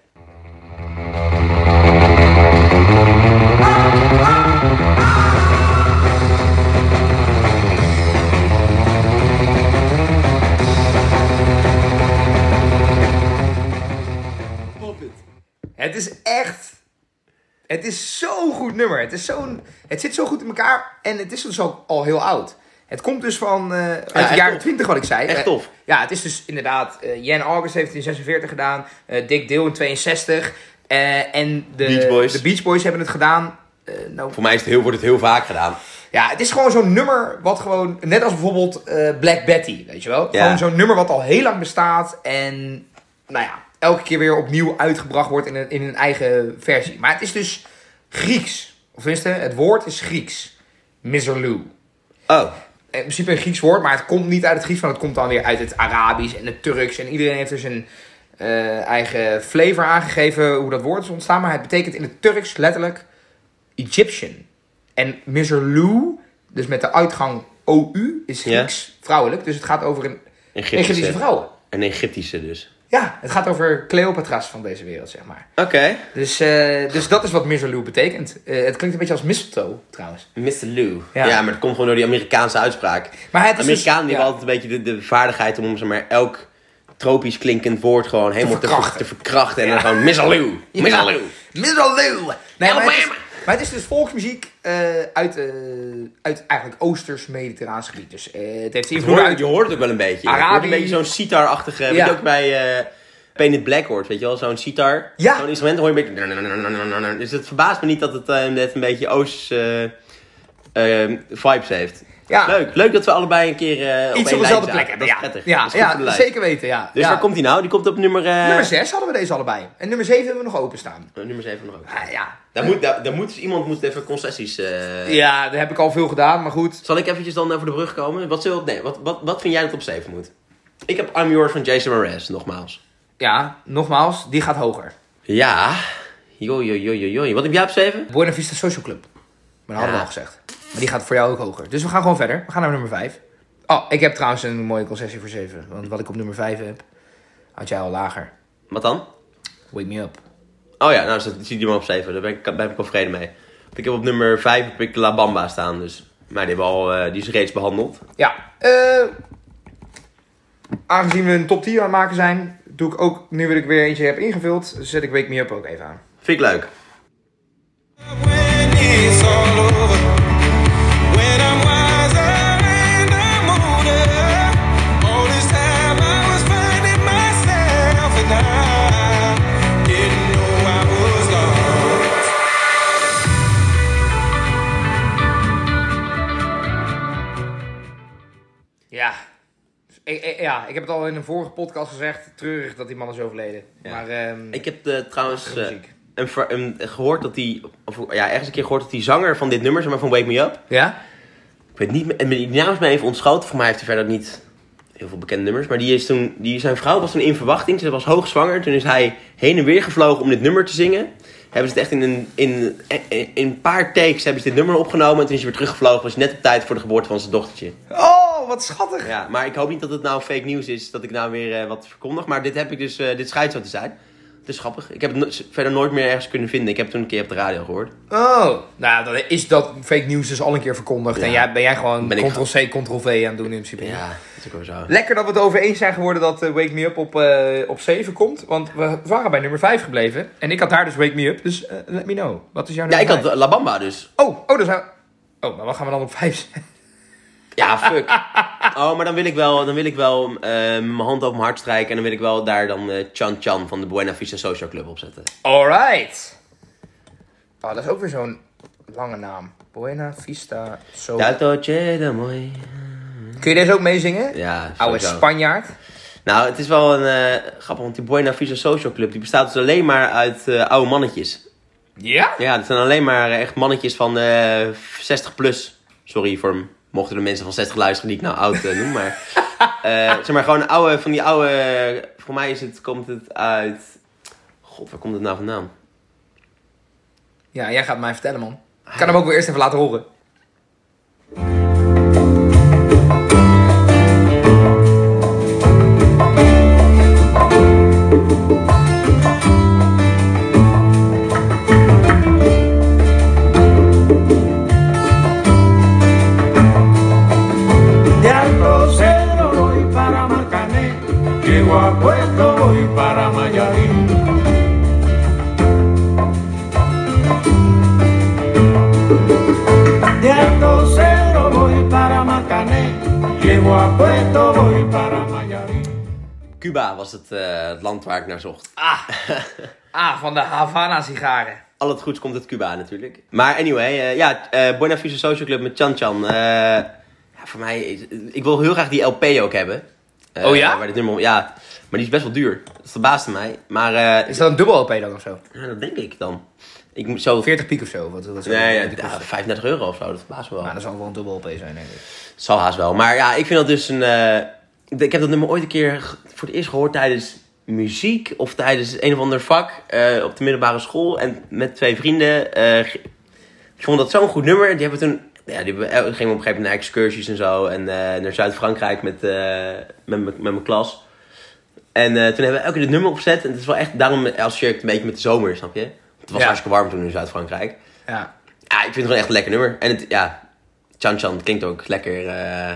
Het is echt. Het is zo'n goed nummer. Het, is zo'n, het zit zo goed in elkaar. En het is dus ook al heel oud. Het komt dus van. eh, uit de echt jaren tof. 20, wat ik zei. Echt Eh, tof. ja, het is dus inderdaad. eh, Jan August heeft het in 46 gedaan. eh, Dick Dale in 62. eh, en de Beach Boys. de Beach Boys hebben het gedaan. Eh, nou, Voor mij is het heel, wordt het heel vaak gedaan. ja, het is gewoon zo'n nummer wat gewoon. Net als bijvoorbeeld eh, Black Betty, weet je wel? Ja. Gewoon zo'n nummer wat al heel lang bestaat. En nou ja, elke keer weer opnieuw uitgebracht wordt in een, in een eigen versie. Maar het is dus Grieks. Of tenminste, het woord is Grieks. Miserlou. Oh, In principe een Grieks woord, maar het komt niet uit het Grieks, want het komt dan weer uit het Arabisch en het Turks. En iedereen heeft dus een eh, eigen flavor aangegeven hoe dat woord is ontstaan. Maar het betekent in het Turks letterlijk Egyptian. En Miserlou, dus met de uitgang OU, is Ja. Grieks vrouwelijk. Dus het gaat over een Egyptische. Egyptische vrouwen. een Egyptische dus. Ja, het gaat over Cleopatra's van deze wereld, zeg maar. Oké. Dus, eh, dus dat is wat Miserlou betekent. Eh, het klinkt een beetje als mistletoe, trouwens. Mr. Lou. Ja. Ja. maar het komt gewoon door die Amerikaanse uitspraak. Maar het is dus- Amerikanen die ja. hebben altijd een beetje de, de vaardigheid om zeg maar, elk tropisch klinkend woord gewoon helemaal te verkrachten. verkrachten. Te, verkrachten. En dan gewoon Mr. [laughs] Lou. Mr. Lou. Middeleeuwen. Nee, maar, het is, Alabama. maar het is dus volksmuziek eh, uit, eh, uit eigenlijk Oosters-Mediterraans gebied. Dus eh, het heeft Je invloed hoort, uit... je hoort het ook wel een beetje. Je hoort Arabisch. een beetje zo'n sitar-achtige. Weet Ja. je ook bij eh Painted Black hoort, weet je wel? Zo'n sitar. Ja. Zo'n instrument hoor je een beetje... Dus het verbaast me niet dat het eh, net een beetje Oost... eh, eh, vibes heeft. Ja. Leuk. Leuk dat we allebei een keer eh, op Iets één op dezelfde lijn plek zaten. hebben. Dat is Ja, prettig. ja, Dat is goed ja, voor de lijst. zeker weten, ja. Dus ja. waar komt die nou? Die komt op nummer... eh Nummer 6 hadden we deze allebei. En nummer 7 hebben we nog openstaan. Oh, Nummer 7 nog ook. Ah, ja. Daar moet, daar, daar moet dus iemand moet even concessies... eh, ja, daar heb ik al veel gedaan, maar goed. Zal ik eventjes dan over de brug komen? Wat, zullen we op, nee, wat, wat, wat vind jij dat op 7 moet? Ik heb I'm Yours van Jason Mraz, nogmaals. Ja, nogmaals, die gaat hoger. Ja. Jo, jo, jo, jo, jo. Wat heb jij op 7? Buena Vista Social Club. Maar dat hadden we Ja. al gezegd. Maar die gaat voor jou ook hoger. Dus we gaan gewoon verder. We gaan naar nummer 5. Oh, ik heb trouwens een mooie concessie voor 7. Want wat ik op nummer 5 heb, had jij al lager. Wat dan? Wake me up. Oh ja, nou zit- zie die maar op 7. Daar ben ik, ben ik wel vrede mee. Ik heb op nummer 5 heb ik La Bamba staan, dus... Maar die, hebben we al, eh, die is reeds behandeld. Ja, eh, aangezien we een top 10 aan het maken zijn, doe ik ook, nu dat ik weer eentje heb ingevuld, zet ik Wake Me Up ook even aan. Vind ik leuk. When it's all over, when I'm wiser and I'm older, all this time I was finding myself and I didn't know I was lost. Ja. Dus Ik, ik- ja, ik heb het al in een vorige podcast gezegd, treurig dat die man is overleden. Maar ehm, Ik heb eh, trouwens eh, muziek. een, ver- een- gehoord dat die... Of, ja, ergens een keer gehoord dat die zanger van dit nummer, zeg maar van Wake Me Up... ja? Ik weet niet, meer- en die naam is mij even ontschoten. Voor mij heeft hij verder niet heel veel bekende nummers. Maar die is toen, die, zijn vrouw was toen in verwachting. Ze was hoogzwanger. Toen is hij heen en weer gevlogen om dit nummer te zingen. Hebben ze het echt in een, in, in, in een paar takes hebben ze dit nummer opgenomen. En toen is hij weer teruggevlogen. Was hij net op tijd voor de geboorte van zijn dochtertje. Oh, wat schattig. Ja, maar ik hoop niet dat het nou fake nieuws is. Dat ik nou weer eh, wat verkondig. Maar dit heb ik dus, eh, dit schijnt zo te zijn. Het is grappig. Ik heb het no- verder nooit meer ergens kunnen vinden. Ik heb het toen een keer op de radio gehoord. Oh, nou, dan is dat fake nieuws dus al een keer verkondigd. Ja. En jij, ben jij gewoon Ben ik ctrl-c, ctrl-v aan het doen in principe. Ja, dat is ook wel zo. Lekker dat we het over eens zijn geworden dat eh, Wake Me Up op, eh, op 7 komt. Want we waren bij nummer 5 gebleven. En ik had daar dus Wake Me Up. Dus eh, let me know. Wat is jouw Ja, nummer ik had vijf? eh, La Bamba dus. Oh, oh, daar zijn we... Oh, maar wat gaan we dan op 5 [laughs] zetten? Ja, fuck. Oh, maar dan wil ik wel, dan wil ik wel eh, mijn hand over mijn hart strijken. En dan wil ik wel daar dan eh, Chan Chan van de Buena Vista Social Club op zetten. Alright. Oh, dat is ook weer zo'n lange naam. Buena Vista Sol. Ja, dolce de mooi. Kun je deze ook meezingen? Ja, Oude sowieso. Spanjaard. Nou, het is wel een eh, grappig, want die Buena Vista Social Club die bestaat dus alleen maar uit eh, oude mannetjes. Ja? Ja, het zijn alleen maar eh, echt mannetjes van eh, 60 plus. Sorry voor m- mochten de mensen van 60 luisteren die ik nou oud eh, noem, maar... eh, zeg maar gewoon oude, van die oude... Voor mij is het, komt het uit... God, waar komt het nou vandaan? Ja, jij gaat mij vertellen, man. Ik kan hem ook weer eerst even laten horen. Ya procedo voy para Marcané, llego a Puerto voy para Mayarín. Ya procedo voy para Marcané, llego a Puerto voy para Mayarín. Cuba was het, eh, het land waar ik naar zocht. Ah, ah van de Havana-sigaren. Al het goeds komt uit Cuba natuurlijk. Maar anyway, eh, ja, eh Buena Vista Social Club met Chan Chan. eh, ja, voor mij, is- ik wil heel graag die LP ook hebben. Eh, Oh ja? Waar dit nummer, ja, maar die is best wel duur. Dat verbaasde mij. Maar eh, Is dat een dubbel LP dan of zo? ja, dat denk ik dan. Ik moet zo... 40 piek of zo? Wat, wat zou Nee, ja, dat moeten ja, kosten? 35 euro of zo, dat verbaast me wel. Nou, dat zal wel een dubbel LP zijn, denk ik. Zal haast wel. Maar ja, ik vind dat dus een. eh, ik heb dat nummer ooit een keer ge- voor het eerst gehoord tijdens muziek of tijdens een of ander vak eh, op de middelbare school. En met twee vrienden. eh, ge- ik vond dat zo'n goed nummer. En Die hebben toen. Ja, die hebben- eh, gingen we op een gegeven moment naar excursies en zo. En eh, naar Zuid-Frankrijk met, eh, met, mijn- met mijn klas. En eh, toen hebben we elke keer dit nummer opgezet. En het is wel echt. Daarom associeer ik het een beetje met de zomer, snap je? Het was Ja. hartstikke warm toen in Zuid-Frankrijk. Ja. Ja, ik vind het gewoon echt een lekker nummer. En het, ja, Chan Chan klinkt ook lekker, eh,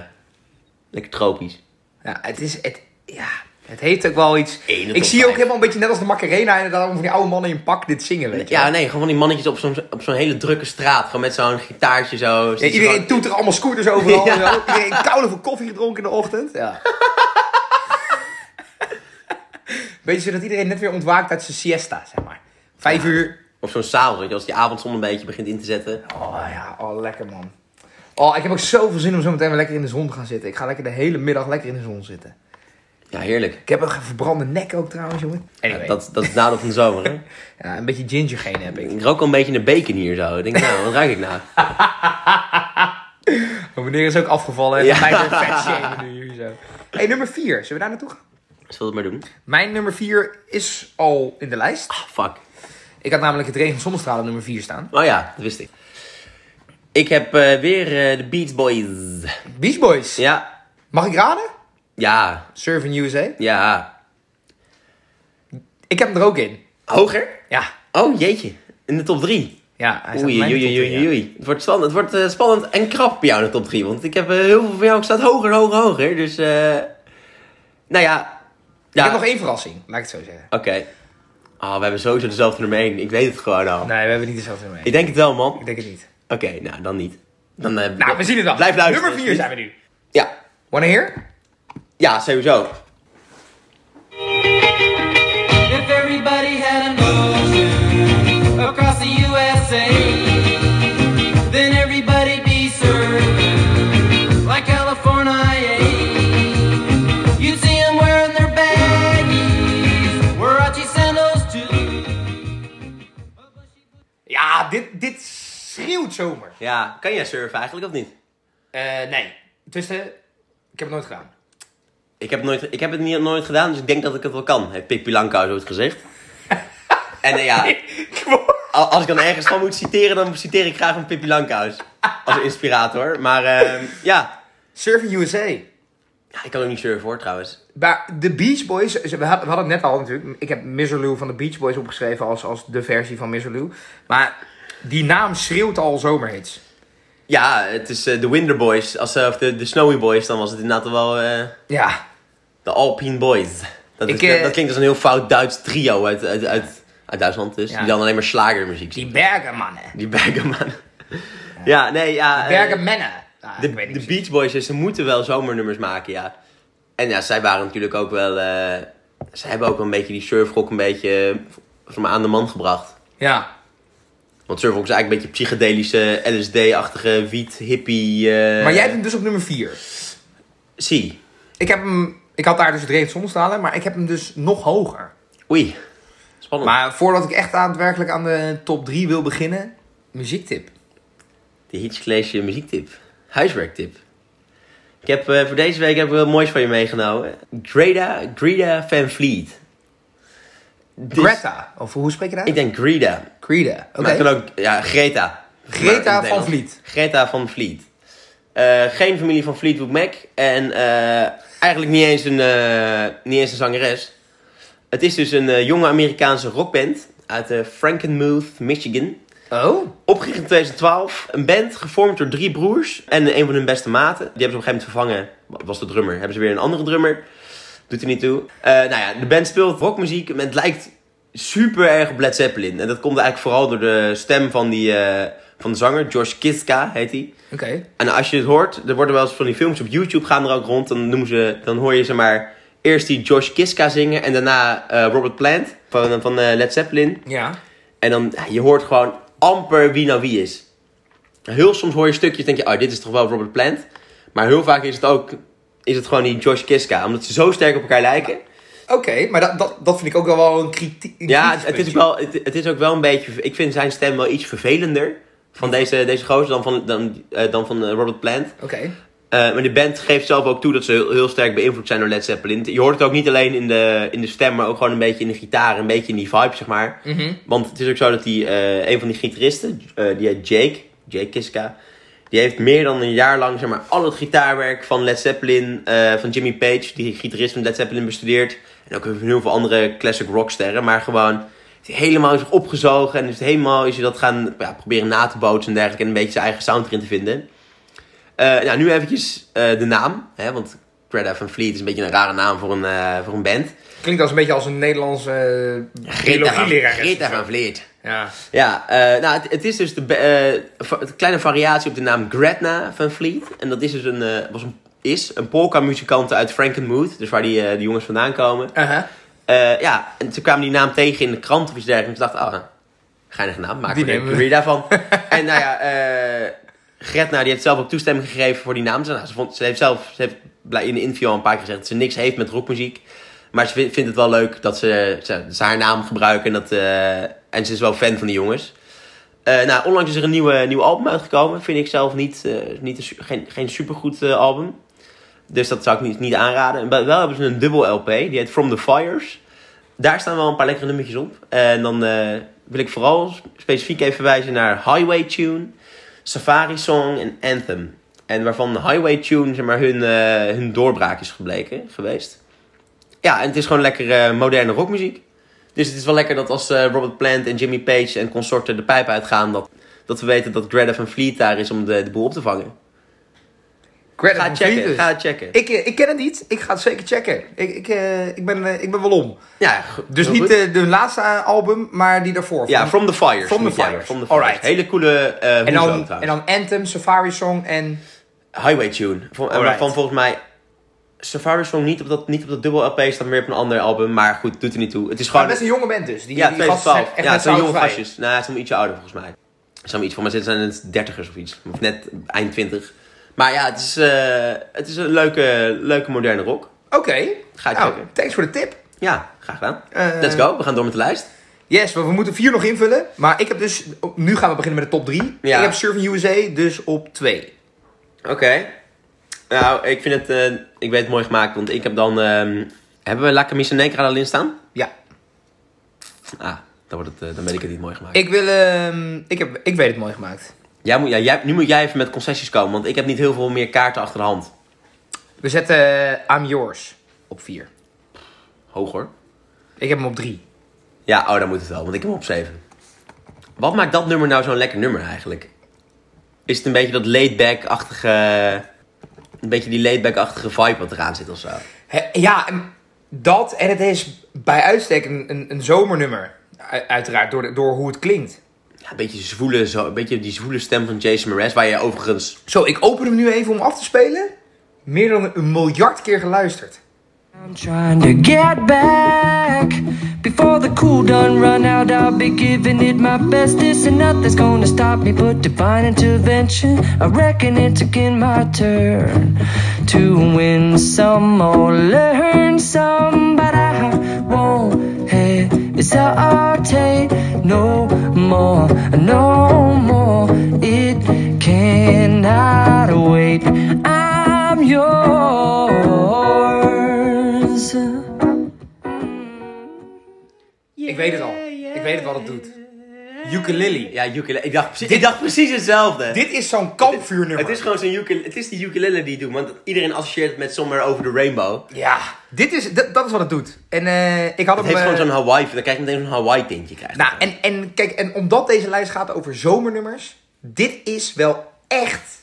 lekker tropisch. ja, het is... Het, ja, het heeft ook wel iets... Ene ik tot zie ook vijf. helemaal een beetje net als de Macarena inderdaad... van die oude mannen in pak dit zingen, weet je Ja, wel. nee, gewoon van die mannetjes op zo'n, op zo'n hele drukke straat. Gewoon met zo'n gitaartje zo. Ja, iedereen toet er allemaal scooters overal. Ja. en zo. Iedereen koude voor koffie gedronken in de ochtend. [laughs] Ja. beetje zodat iedereen net weer ontwaakt uit zijn siesta, zeg maar. Vijf uur. Of zo'n s'avonds, weet je, als die avondzon een beetje begint in te zetten. Oh ja, oh lekker man. Oh, ik heb ook zoveel zin om zo meteen weer lekker in de zon te gaan zitten. Ik ga lekker de hele middag lekker in de zon zitten. Ja, heerlijk. Ik heb een verbrande nek ook trouwens, jongen. Ja, Anyway. dat, dat is het nadeel van de zomer, [laughs] hè. Ja, een beetje gingergeen heb ik. Ik rook al een beetje een bacon hier zo. Ik denk, nou, wat ruik ik [laughs] nou? Mijn meneer is ook afgevallen. Ja. Ja. Mij weer vet shamen nu. hier Zo. Hey, nummer 4. Zullen we daar naartoe gaan? Zullen we het maar doen? Ah, Mijn nummer 4 is al in de lijst. Fuck. Ik had namelijk het regen zonnestralen nummer 4 staan. Oh ja, dat wist ik. Ik heb eh, weer eh, de Beach Boys. Beach Boys. Ja. Mag ik raden? Ja. Surfing USA. Ja. Ik heb hem er ook in. Hoger? Ja. Oh, jeetje. In de top 3. Ja, hij staat Oei, bij oei, mij in de oei, top drie, oei, ja. oei. Het wordt, spannend. het wordt eh, spannend en krap bij jou in de top 3. Want ik heb eh, heel veel van jou. Ik staat hoger, hoger, hoger. Dus, eh nou ja. Ik ja. heb nog één verrassing, laat ik het zo zeggen. Oké. Ah, we hebben sowieso dezelfde nummer 1. Ik weet het gewoon al. Nee, we hebben niet dezelfde mee. Ik denk het wel, man. Ik denk het niet. Oké, nou, dan niet. Dan, eh, Nou, we zien het dan. Blijf luisteren. Nummer 4 zijn we nu. Ja. Wanneer? here? Ja, sowieso. If everybody had an ocean across the USA, then everybody'd be surfing like California. yeah. You'd see 'em wearing their baggies, Warachi sandals too. Ja, dit, dit schreeuwt zomer. Ja, kan jij surfen eigenlijk of niet? Eh, nee, tussen, ik heb het nooit [laughs] gedaan. Ik heb, nooit, ik heb het niet, nooit gedaan, dus ik denk dat ik het wel kan. Heeft Pippi Langkous ooit [laughs] gezegd. en eh, ja, al- als ik dan ergens van moet citeren, dan citeer ik graag een Pippi Langkous. Als inspirator. Maar eh, ja. Surfing USA. ja, ik kan ook niet surfen hoor trouwens. Maar de Beach Boys, ze- we hadden we hadden het net al natuurlijk. Ik heb Miserloo van de Beach Boys opgeschreven als, als de versie van Miserloo. Maar die naam schreeuwt al zomerhits. Ja, het is eh, de Winter Boys, als, eh, of de, de Snowy Boys, dan was het inderdaad wel eh, Ja, de Alpine Boys. Dat, is, Ik, eh, dat klinkt als een heel fout Duits trio uit, uit, uit, uit Duitsland dus. Ja. Die dan alleen maar slagermuziek die zien. bergenmannen. Die Bergenman. Ja, nee, ja. eh, Bergenmennen. Ah, De, ik weet niet de precies. Beach Boys, ze moeten wel zomernummers maken, ja. En ja, zij waren natuurlijk ook wel... eh, ze hebben ook wel een beetje die surfrock een beetje eh, volgens mij aan de man gebracht. Ja, Want surfrock is eigenlijk een beetje psychedelische, LSD-achtige, wiet, hippie... eh, maar jij hebt hem dus op nummer 4. Zie. Ik heb hem, ik had daar dus het regent zonnestralen, maar ik heb hem dus nog hoger. Oei. Spannend. Maar voordat ik echt daadwerkelijk aan de top 3 wil beginnen, muziektip. De Hitchclash eh, muziektip. Huiswerktip. Ik heb, eh, voor deze week heb ik wel moois van je meegenomen. Greta, Greta Van Vliet. Dus- Greta, of hoe spreek je dat? Ik denk Greta. Greta, oké. Maar het kan ook, ja, Greta. Greta Maar in het van Nederlands. Vliet. Greta van Vliet. Eh, geen familie van Fleetwood Mac. En eh, eigenlijk niet eens, een, eh, niet eens een zangeres. Het is dus een eh, jonge Amerikaanse rockband uit eh, Frankenmuth, Michigan. Oh, Opgericht in 2012. Een band gevormd door drie broers en een van hun beste maten. Die hebben ze op een gegeven moment vervangen. Was de drummer. Hebben ze weer een andere drummer. Doet er niet toe. Eh, nou ja, de band speelt rockmuziek. maar Het lijkt super erg op Led Zeppelin. En dat komt eigenlijk vooral door de stem van, die, eh, van de zanger. George Kiska heet hij. oké. En als je het hoort, er worden wel eens van die films op YouTube gaan er ook rond. Dan, noemen ze, dan hoor je zeg maar eerst die George Kiska zingen. En daarna eh, Robert Plant van, van eh, Led Zeppelin. Ja. En dan, ja, je hoort gewoon amper wie nou wie is. Heel soms hoor je stukjes, denk je, oh, dit is toch wel Robert Plant. Maar heel vaak is het ook, is het gewoon die Josh Kiska. Omdat ze zo sterk op elkaar lijken. Oké, maar dat, dat, dat vind ik ook wel wel een kritiek. een Ja, kritisch het, het is puntje. wel, het, het is ook wel een beetje, ik vind zijn stem wel iets vervelender. Van deze, deze gozer dan van, dan, eh, dan van eh, Robert Plant. Oké. Eh, maar de band geeft zelf ook toe dat ze heel, heel sterk beïnvloed zijn door Led Zeppelin. Je hoort het ook niet alleen in de, in de stem, maar ook gewoon een beetje in de gitaar. Een beetje in die vibe, zeg maar. Want het is ook zo dat die, eh, een van die gitaristen, eh, die heet Jake, Jake Kiska... Die heeft meer dan een jaar lang zeg maar, al het gitaarwerk van Led Zeppelin, eh, van Jimmy Page, die gitarist van Led Zeppelin, bestudeerd. En ook heel veel- heel veel andere classic rocksterren. Maar gewoon heeft hij helemaal zich opgezogen en is het helemaal is hij dat gaan ja, proberen na te bootsen en dergelijke. En een beetje zijn eigen sound erin te vinden. Eh, nou, nu eventjes eh, de naam. Hè, want Greta van Fleet is een beetje een rare naam voor een, eh, voor een band. Klinkt als een beetje als een Nederlandse uh, Greta van, biologieleraar. is Greta of zo. van Vliet. Ja. Ja, eh, nou, het, het is dus de be- eh, va- een kleine variatie op de naam Gretna van Fleet. En dat is dus een, eh, was een, is een polka-muzikant uit Frankenmuth, dus waar die, eh, die jongens vandaan komen. Uh-huh. Eh, ja, en ze kwamen die naam tegen in de krant of iets dergelijks. En ze dachten, ah, geinige naam, maken Die we nemen een we. career [laughs] daarvan. en nou ja, eh Gretna die heeft zelf ook toestemming gegeven voor die naam. Ze, nou, ze, vond, ze heeft zelf ze heeft blij- in de interview al een paar keer gezegd dat ze niks heeft met rockmuziek. Maar ze vindt, vindt het wel leuk dat ze, ze, ze haar naam gebruiken. En, dat, eh, en ze is wel fan van die jongens. Eh, nou, onlangs is er een nieuwe, nieuw album uitgekomen. Vind ik zelf niet, eh, niet een, su- geen, geen supergoed eh, album. Dus dat zou ik niet, niet aanraden. Wel wel hebben ze een dubbel LP. Die heet From the Fires. Daar staan wel een paar lekkere nummertjes op. En dan eh, wil ik vooral specifiek even wijzen naar Highway Tune, Safari Song en Anthem. En waarvan Highway Tune zeg maar, hun, eh, hun doorbraak is gebleken, geweest. Ja, en het is gewoon lekker eh, moderne rockmuziek. Dus het is wel lekker dat als eh, Robert Plant en Jimmy Page en consorten de pijp uitgaan, dat, dat we weten dat Greta van Vliet daar is om de, de boel op te vangen. Greta Ga van checken, Vliet dus. ga checken. Ik, eh, ik ken het niet. Ik ga het zeker checken. Ik, ik, eh, ik, ben, eh, ik ben wel om. Nou Ja, go- Dus heel niet goed. de, de laatste eh, album, maar die daarvoor. Ja, Van- From the Fires. From the moet jij Fires. maar, From the Fires. Alright. Hele coole eh en, hoezo dan, trouwens. en dan Anthem, Safari Song en... Highway Tune. Van, en Alright. waarvan volgens mij Safari Song niet op dat, niet op dat dubbel LP staat, maar weer op een ander album. Maar goed, doet er niet toe. Het is gewoon... Maar best een jonge band dus. Die, ja, die gasten 2012. zijn echt Ja, net het zijn zo jonge oud als wij. gastjes. Nou, ze zijn iets ouder volgens mij. Ze zijn iets voor mij ze zijn het dertigers of iets. Of net eind twintig. Maar ja, het is, eh, het is een leuke, leuke moderne rock. Oké. Ga ik Nou, checken. thanks voor de tip. Ja, graag gedaan. Eh. Let's go, we gaan door met de lijst. Yes, maar we moeten vier nog invullen. Maar ik heb dus... Nu gaan we beginnen met de top drie. Ja. Ik heb Surfing USA dus op twee. Oké. Nou, ik vind het... eh, ik weet het mooi gemaakt, want ik heb dan... ehm, hebben we La Camisa Negra al in staan? Ja. Ah, dan, wordt het, eh, dan weet ik het niet mooi gemaakt. Ik wil... ehm, ik, heb, ik weet het mooi gemaakt. Jij moet, ja, jij, nu moet jij even met concessies komen, want ik heb niet heel veel meer kaarten achter de hand. We zetten eh, I'm Yours op vier. Hoog hoor. Ik heb hem op drie. Ja, oh, dan moet het wel, want ik heb hem op 7. Wat maakt dat nummer nou zo'n lekker nummer eigenlijk? Is het een beetje dat laidback-achtige... Een beetje die laidback-achtige vibe wat eraan zit of zo? Hè, ja, en dat. En het is bij uitstek een, een, een zomernummer. U- uiteraard, door, de- door hoe het klinkt. Ja, een beetje, zwoele, zo, een beetje die zwoele stem van Jason Mraz, waar je overigens... Zo, ik open hem nu even om af te spelen. Meer dan een miljard keer geluisterd. I'm trying to get back before the cool done run out. I'll be giving it my best. This and nothing's gonna stop me but divine intervention. I reckon it's again my turn to win some or learn some, but I won't hesitate no more, no more. It cannot wait. I'm yours. ik weet het al. Ik weet het wat het doet. Ukulele. Ja, ukulele. Ik dacht, precies- ik dacht precies hetzelfde. Dit is zo'n kampvuurnummer. Het is gewoon zo'n ukulele. Het is die ukulele die het doet, want iedereen associeert het met Somewhere Over the Rainbow. Ja, dit is, dat, dat is wat het doet. En eh, ik had hem... Het heeft eh, gewoon zo'n Hawaii, dan krijg je meteen zo'n Hawaii tintje. Krijg je nou, ervan. en, en kijk, en omdat deze lijst gaat over zomernummers... Dit is wel echt,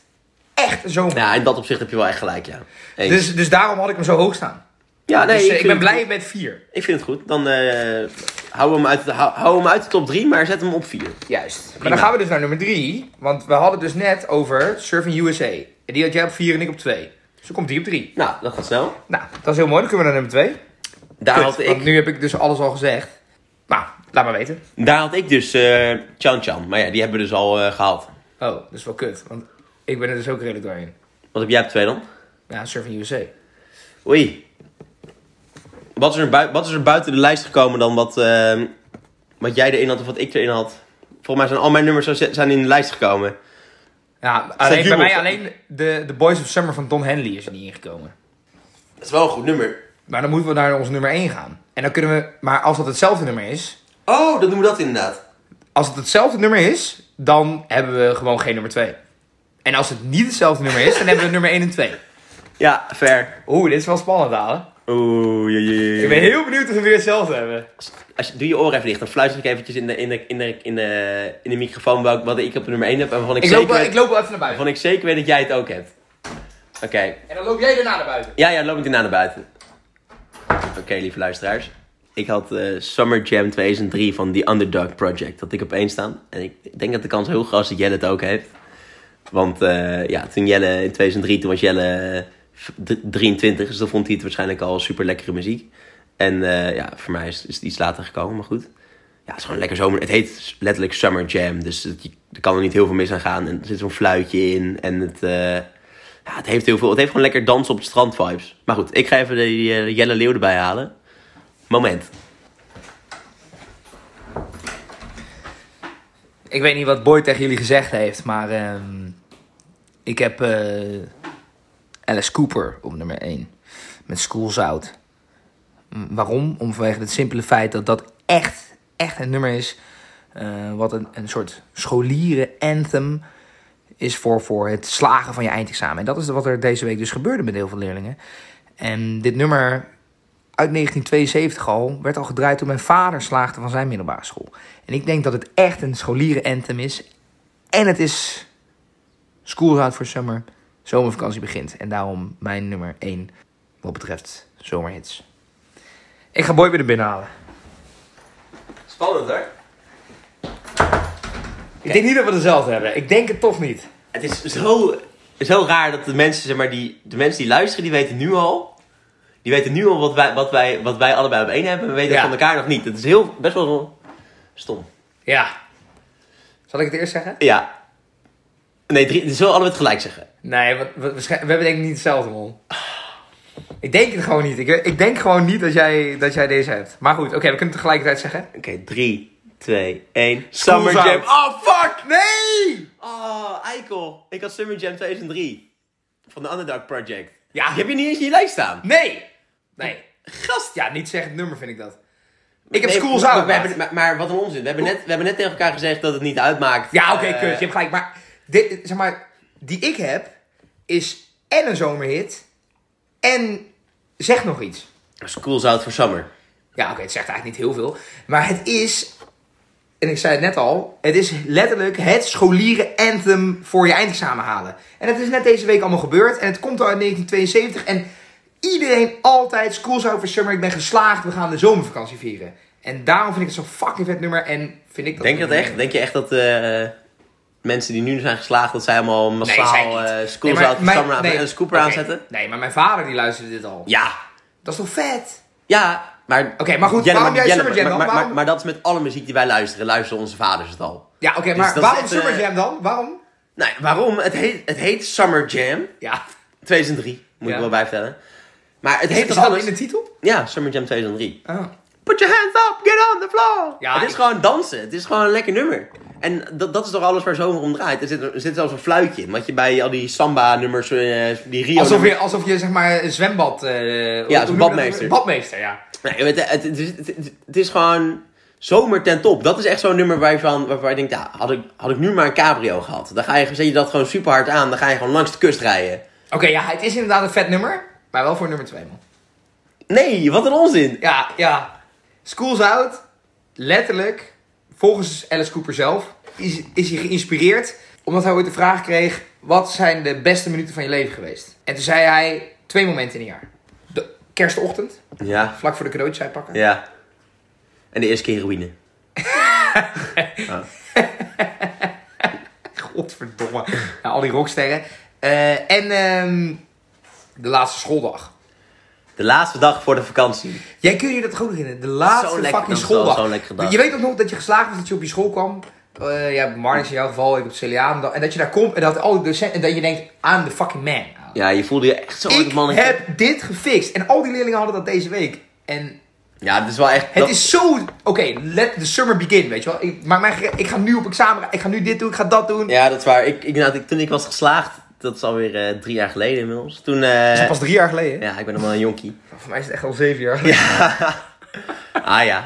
echt een zomer. Ja, in dat opzicht heb je wel echt gelijk, ja. Eens. dus, dus daarom had ik hem zo hoog staan. ja, dus, eh, ik vind ben het blij goed. met vier. Ik vind het goed. Dan eh hou, hem uit, de- hou, hou hem uit de top 3, maar zet hem op 4. Juist. Maar dan gaan we dus naar nummer 3. Want we hadden dus net over Surfing USA. En die had jij op 4 en ik op 2. Dus dan komt die op 3. Nou, dat gaat snel. Nou, dat is heel mooi. Dan kunnen we naar nummer 2. Daar, had ik, Want nu heb ik dus alles al gezegd. Nou, laat maar weten. daar had ik dus eh Chan Chan. Maar ja, die hebben we dus al eh, gehaald. Oh, dat is wel kut. Want ik ben er dus ook redelijk doorheen. Wat heb jij op 2 dan? Ja, Surfing USA. Oei. Wat is, er bui- wat is er buiten de lijst gekomen dan wat, eh, wat jij erin had of wat ik erin had? Volgens mij zijn al mijn nummers zo- zijn in de lijst gekomen. Ja, alleen, bij jubel. mij alleen de, de Boys of Summer van Don Henley is er niet ingekomen. Dat is wel een goed nummer. Maar dan moeten we naar ons nummer 1 gaan. En dan kunnen we... Maar als dat hetzelfde nummer is... Oh, dan doen we dat inderdaad. Als het hetzelfde nummer is, dan hebben we gewoon geen nummer 2. En als het niet hetzelfde nummer is, dan hebben we nummer 1 en 2. Ja, fair. Oeh, dit is wel spannend, halen. Oeh, jee, jee, jee. Ik ben heel benieuwd of we weer hetzelfde hebben. Als je, doe je oren even dicht, dan fluister ik eventjes in de, in de, in de, in de, in de microfoon welk, wat ik op nummer 1 heb en waarvan ik, Ik zeker loop, wel- weet, ik loop wel even naar buiten. waarvan ik zeker weet dat jij het ook hebt. Oké, En dan loop jij daarna naar buiten. ja, ja, loop ik daarna naar buiten. Oké, lieve luisteraars. Ik had eh, Summer Jam 2003 van The Underdog Project, dat ik op één staan. En ik denk dat de kans heel groot is dat Jelle het ook heeft. Want eh, ja, toen Jelle in 2003, toen was Jelle eh, v- d- 23, dus dan vond hij het waarschijnlijk al super lekkere muziek. En eh, ja, voor mij is, is het iets later gekomen, maar goed. Ja, het is gewoon lekker zomer. Het heet letterlijk Summer Jam, dus het, je- er kan er niet heel veel mis aan gaan. En er zit zo'n fluitje in en het, eh, ja, het heeft heel veel. Het heeft gewoon lekker dansen op het strand vibes. Maar goed, ik ga even de eh, Jelle Leeuw erbij halen. Moment. Ik weet niet wat Boy tegen jullie gezegd heeft, maar ehm, ik heb eh, Alice Cooper op nummer 1. Met School's Out. Mm, Waarom? Om vanwege het simpele feit dat dat echt, echt een nummer is. eh, wat een, een soort scholieren anthem is voor, voor het slagen van je eindexamen. En dat is wat er deze week dus gebeurde met heel veel leerlingen. En dit nummer uit 1972 al, werd al gedraaid toen mijn vader slaagde van zijn middelbare school. En ik denk dat het echt een scholieren-anthem is. En het is School's Out for Summer. Zomervakantie begint. En daarom mijn nummer 1 wat betreft zomerhits. Ik ga Boy weer er binnenhalen. Spannend hoor. Ik denk niet dat we dezelfde hebben. Ik denk het toch niet. Het is zo, zo raar dat de mensen, zeg maar, die, de mensen die luisteren, die weten nu al. Die weten nu al wat wij, wat wij, wat wij allebei op één hebben. We weten Ja. het van elkaar nog niet. Dat is heel, best wel stom. Ja. Zal ik het eerst zeggen? Ja. Nee, drie, zullen we allebei het gelijk zeggen? Nee, we, we, waarschijn- we hebben denk ik niet hetzelfde, man. Ik denk het gewoon niet. Ik, ik denk gewoon niet dat jij, dat jij deze hebt. Maar goed, oké, we kunnen het tegelijkertijd zeggen. Oké, drie, twee, één. Summer Jam. Out. Oh, fuck! Nee! Oh, eikel. Ik had Summer Jam 2003. Van de Underdog Project. Ja. Die heb je niet eens in je lijst staan. Nee! Nee. Gast, ja, niet zeggen het nummer vind ik dat. Ik heb Nee, School's maar- Out. Maar, maar, maar, maar wat een onzin. We hebben, net, we hebben net tegen elkaar gezegd dat het niet uitmaakt. Ja, oké, Eh, kut. Je hebt gelijk. Maar, dit, zeg maar, die ik heb is en een zomerhit en zeg nog iets. School's Out for Summer. Ja, oké, het zegt eigenlijk niet heel veel. Maar het is, en ik zei het net al, het is letterlijk het scholieren anthem voor je eindexamen halen. En het is net deze week allemaal gebeurd en het komt al uit 1972 en iedereen altijd schools over summer, ik ben geslaagd, we gaan de zomervakantie vieren. En daarom vind ik het zo'n fucking vet nummer en vind ik dat... Denk je dat echt? Denk je echt dat eh, mensen die nu zijn geslaagd, dat zij allemaal zij massaal niet. eh, Nee, School's maar Out for mijn- Summer aan, nee, en Scooper oké. aanzetten? Nee, maar mijn vader die luisterde dit al. Ja. Dat is toch vet? Ja, maar... Oké, maar goed, Jelle, waarom jij Jelle, Summer Jam maar, dan? maar, maar, Waarom- maar dat is met alle muziek die wij luisteren. Luisteren onze vaders het al. Ja, oké, Dus maar dat is waarom echt, Summer eh, Jam dan? Waarom? Nou, ja, waarom? Het heet, het heet Summer Jam. Ja, 2003, moet Ja. ik wel bijvertellen. Maar het heet is dus dat alles... in de titel? Ja, Summer Jam 2003. Oh. Put your hands up, get on the floor. Ja, het is ik- gewoon dansen. Het is gewoon een lekker nummer. En dat, dat is toch alles waar zomer om draait. Er zit, er zit zelfs een fluitje in. Wat je bij al die samba-nummers, eh, die rio Alsof je, alsof je zeg maar een zwembad... eh, hoe- hoe zo'n noem je dat? badmeester. Badmeester, ja. Nee, het, het, het, is- het- het is gewoon zomer ten top. Dat is echt zo'n nummer waarvan, waarvan je denkt, ja, had, ik, had ik nu maar een cabrio gehad. Dan ga je, zet je dat gewoon super hard aan. Dan ga je gewoon langs de kust rijden. Oké, ja, het is inderdaad een vet nummer, maar wel voor nummer 2, man. Nee, wat een onzin. Ja, ja. School's Out, letterlijk, volgens Alice Cooper zelf, is, is hij geïnspireerd omdat hij ooit de vraag kreeg: wat zijn de beste minuten van je leven geweest? En toen zei hij twee momenten in een jaar: de kerstochtend, Ja, vlak voor de cadeautjes uitpakken. ja. En de eerste keer heroïne. Godverdomme, [laughs] Ja, al die rocksterren. Eh, en ehm, de laatste schooldag. De laatste dag voor de vakantie. Jij kun je dat goed herinneren. De laatste Zo lekker, fucking dat is wel schooldag. zo'n lekker dag. Je weet ook nog dat je geslaagd was dat je op je school kwam. Eh, ja, Marnix in jouw geval, ik op Celiaan. dan- En dat je daar komt en dat al die docenten... En dat je denkt, I'm the fucking man. Ja, je voelde je echt zo ik mannetje. heb dit gefixt. En al die leerlingen hadden dat deze week. En Ja, het is wel echt... het dat- is zo... Oké, let the summer begin, weet je wel. Ik, maar mijn, ge- ik ga nu op examen. Ik ga nu dit doen, ik ga dat doen. Ja, dat is waar. Ik, ik, nou, ik- toen ik was geslaagd, dat is alweer eh, drie jaar geleden inmiddels. Toen... eh, Dat is pas drie jaar geleden. hè? Ja, ik ben nog wel een jonkie. Voor mij is het echt al zeven jaar geleden. Ah ja.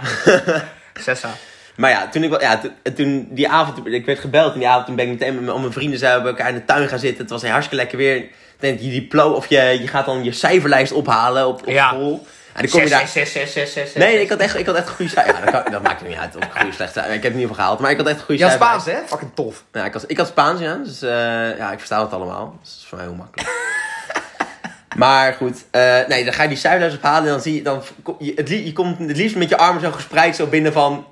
Zes jaar. Maar ja, toen ik wel- ja, toen, toen die avond, ik werd gebeld en die avond toen ben ik meteen met mijn, al mijn vrienden zijn we bij elkaar in de tuin gaan zitten. Het was hartstikke lekker weer. Ik Denk je diploma of je, je gaat dan je cijferlijst ophalen op, op Ja. school. En dan kom je Zes, zes, daar. zes, zes, zes, zes. Nee, ik had echt, ik had echt goede cijfers. Ja, dat, kan- dat maakt niet uit of ik goede slechte cijfers. Ik heb het niet van gehaald, maar ik had echt goede Ja, cijfers. Spaans, hè? Fucking tof. Ja, ik, had, ik had Spaans, ja. Dus eh, ja, ik versta het allemaal. Dus dat is voor mij heel [laughs] makkelijk. maar goed, eh, nee, dan ga je die zuilers ophalen en dan zie je... Dan, kom- je, het, li- je komt het liefst met je armen zo gespreid zo binnen van...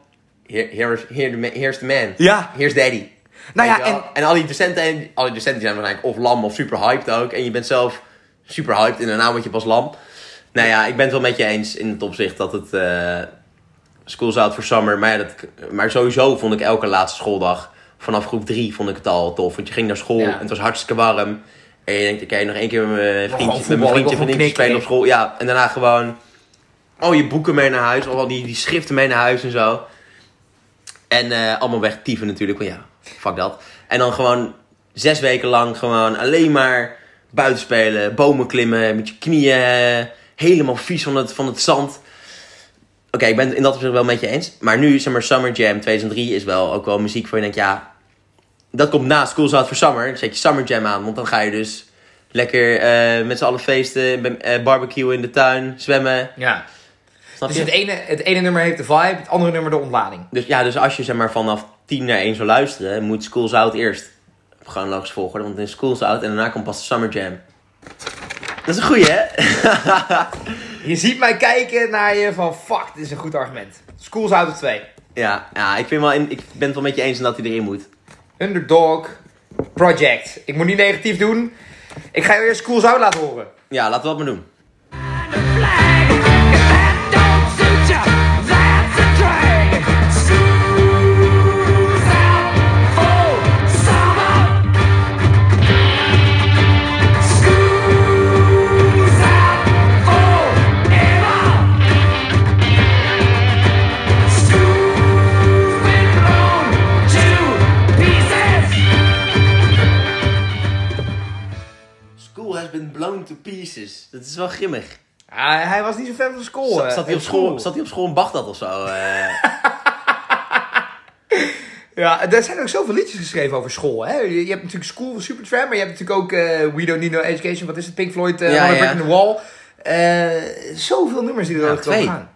Here, here is, here the ma- here's the man. Ja. Here's daddy. Nou ja, Weet je wel? en- al die docenten, en, al die docenten zijn waarschijnlijk of lam of super hyped ook. En je bent zelf super hyped en daarna word je pas lam. Nou ja, ik ben het wel met je eens in het opzicht dat het... eh, School's Out for Summer. Maar, ja, dat, maar sowieso vond ik elke laatste schooldag, vanaf groep 3, vond ik het al tof. Want je ging naar school Ja. en het was hartstikke warm. En je denkt, oké, nog één keer met mijn gewoon eh, vriendje, met voetballen, ik mijn wil vriendje gewoon vriendinnetje spelen knikken. op school. Ja, en daarna gewoon al je boeken mee naar huis, al die, die schriften mee naar huis en zo. En eh, allemaal wegtieven natuurlijk, want ja, fuck dat. En dan gewoon zes weken lang gewoon alleen maar buiten spelen, bomen klimmen, met je knieën eh, helemaal vies van het, van het zand. Oké, ik ben het in dat opzicht wel met je eens. Maar nu, zeg maar, Summer Jam 2003 is wel ook wel muziek voor je denkt, ja... Dat komt na School's Out for Summer. Dan zet je Summer Jam aan, want dan ga je dus lekker eh, met z'n allen feesten, ben- eh, barbecuen in de tuin, zwemmen. Ja. Snap dus je? het ene, het ene nummer heeft de vibe, het andere nummer de ontlading. Dus ja, dus als je zeg maar vanaf 10 naar 1 zou luisteren, moet Schools Out eerst op chronologische volgorde. Want in Schools Out en daarna komt pas de Summer Jam. Dat is een goeie, hè? [laughs] Je ziet mij kijken naar je van fuck, dit is een goed argument. Schools Out of 2. Ja, ja ik, vind wel in- ik ben het wel met je eens in dat hij erin moet. Underdog Project. Ik moet niet negatief doen. Ik ga je eerst Schools Out laten horen. Ja, laten we dat maar doen. School has been blown to pieces. Dat is wel grimmig. Ja, hij was niet zo fan van school. Zat, eh, zat, hij op eh, school, zat hij op school in Bagdad of zo? eh? Ja, er zijn ook zoveel liedjes geschreven over school. Hè? Je, je hebt natuurlijk School van Supertramp, maar je hebt natuurlijk ook eh, We Don't Need No Education. Wat is het? Pink Floyd, eh On Ja, a ja. Brick in the Wall. Eh, zoveel nummers die er ook twee. gaan. [laughs]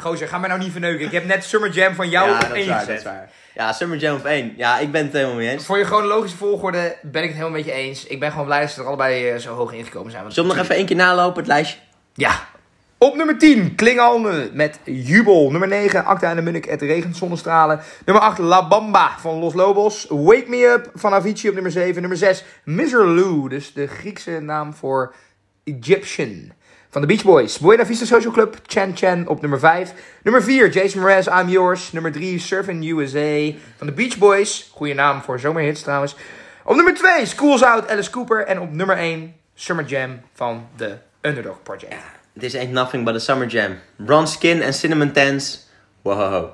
Gozer, ga mij nou niet verneuken. Ik heb net Summer Jam van jou op ja, dat één is waar, dat gezet. is waar. Ja, Summer Jam op 1. Ja, ik ben het helemaal mee eens. Voor je chronologische volgorde ben ik het helemaal met je eens. Ik ben gewoon blij dat ze er allebei eh, zo hoog ingekomen zijn. Want- Zullen we nog even één keer nalopen, het lijstje? Ja. Op nummer 10, Klingalme met Jubel. Nummer 9, Acta en de Munnik, Het regent zonnestralen. Nummer 8, La Bamba van Los Lobos. Wake Me Up van Avicii op nummer 7. Nummer 6, Mr. Lou, dus de Griekse naam voor Egyptian. Van de Beach Boys, Buena Vista Social Club, Chan Chan op nummer 5. Nummer 4, Jason Mraz, I'm Yours. Nummer 3, Surfing USA van de Beach Boys. Goeie naam voor zomerhits trouwens. Op nummer 2, Schools Out, Alice Cooper. En op nummer 1, Summer Jam van de Underdog Project. It is ain't nothing but a summer jam. Bronze skin en cinnamon tans. Wow.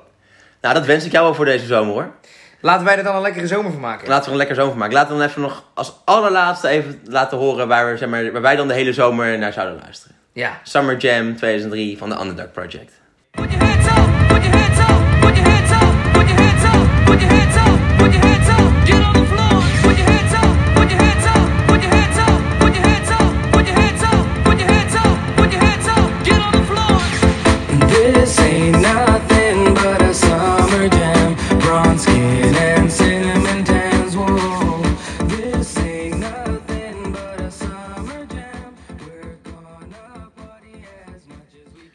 Nou, dat wens ik jou wel voor deze zomer hoor. Laten wij er dan een lekkere zomer van maken. Laten we er een lekker zomer van maken. Laten we dan even nog als allerlaatste even laten horen waar, we, zeg maar, waar wij dan de hele zomer naar zouden luisteren. ja. Summer Jam 2003 van de Underdog Project. Put your hands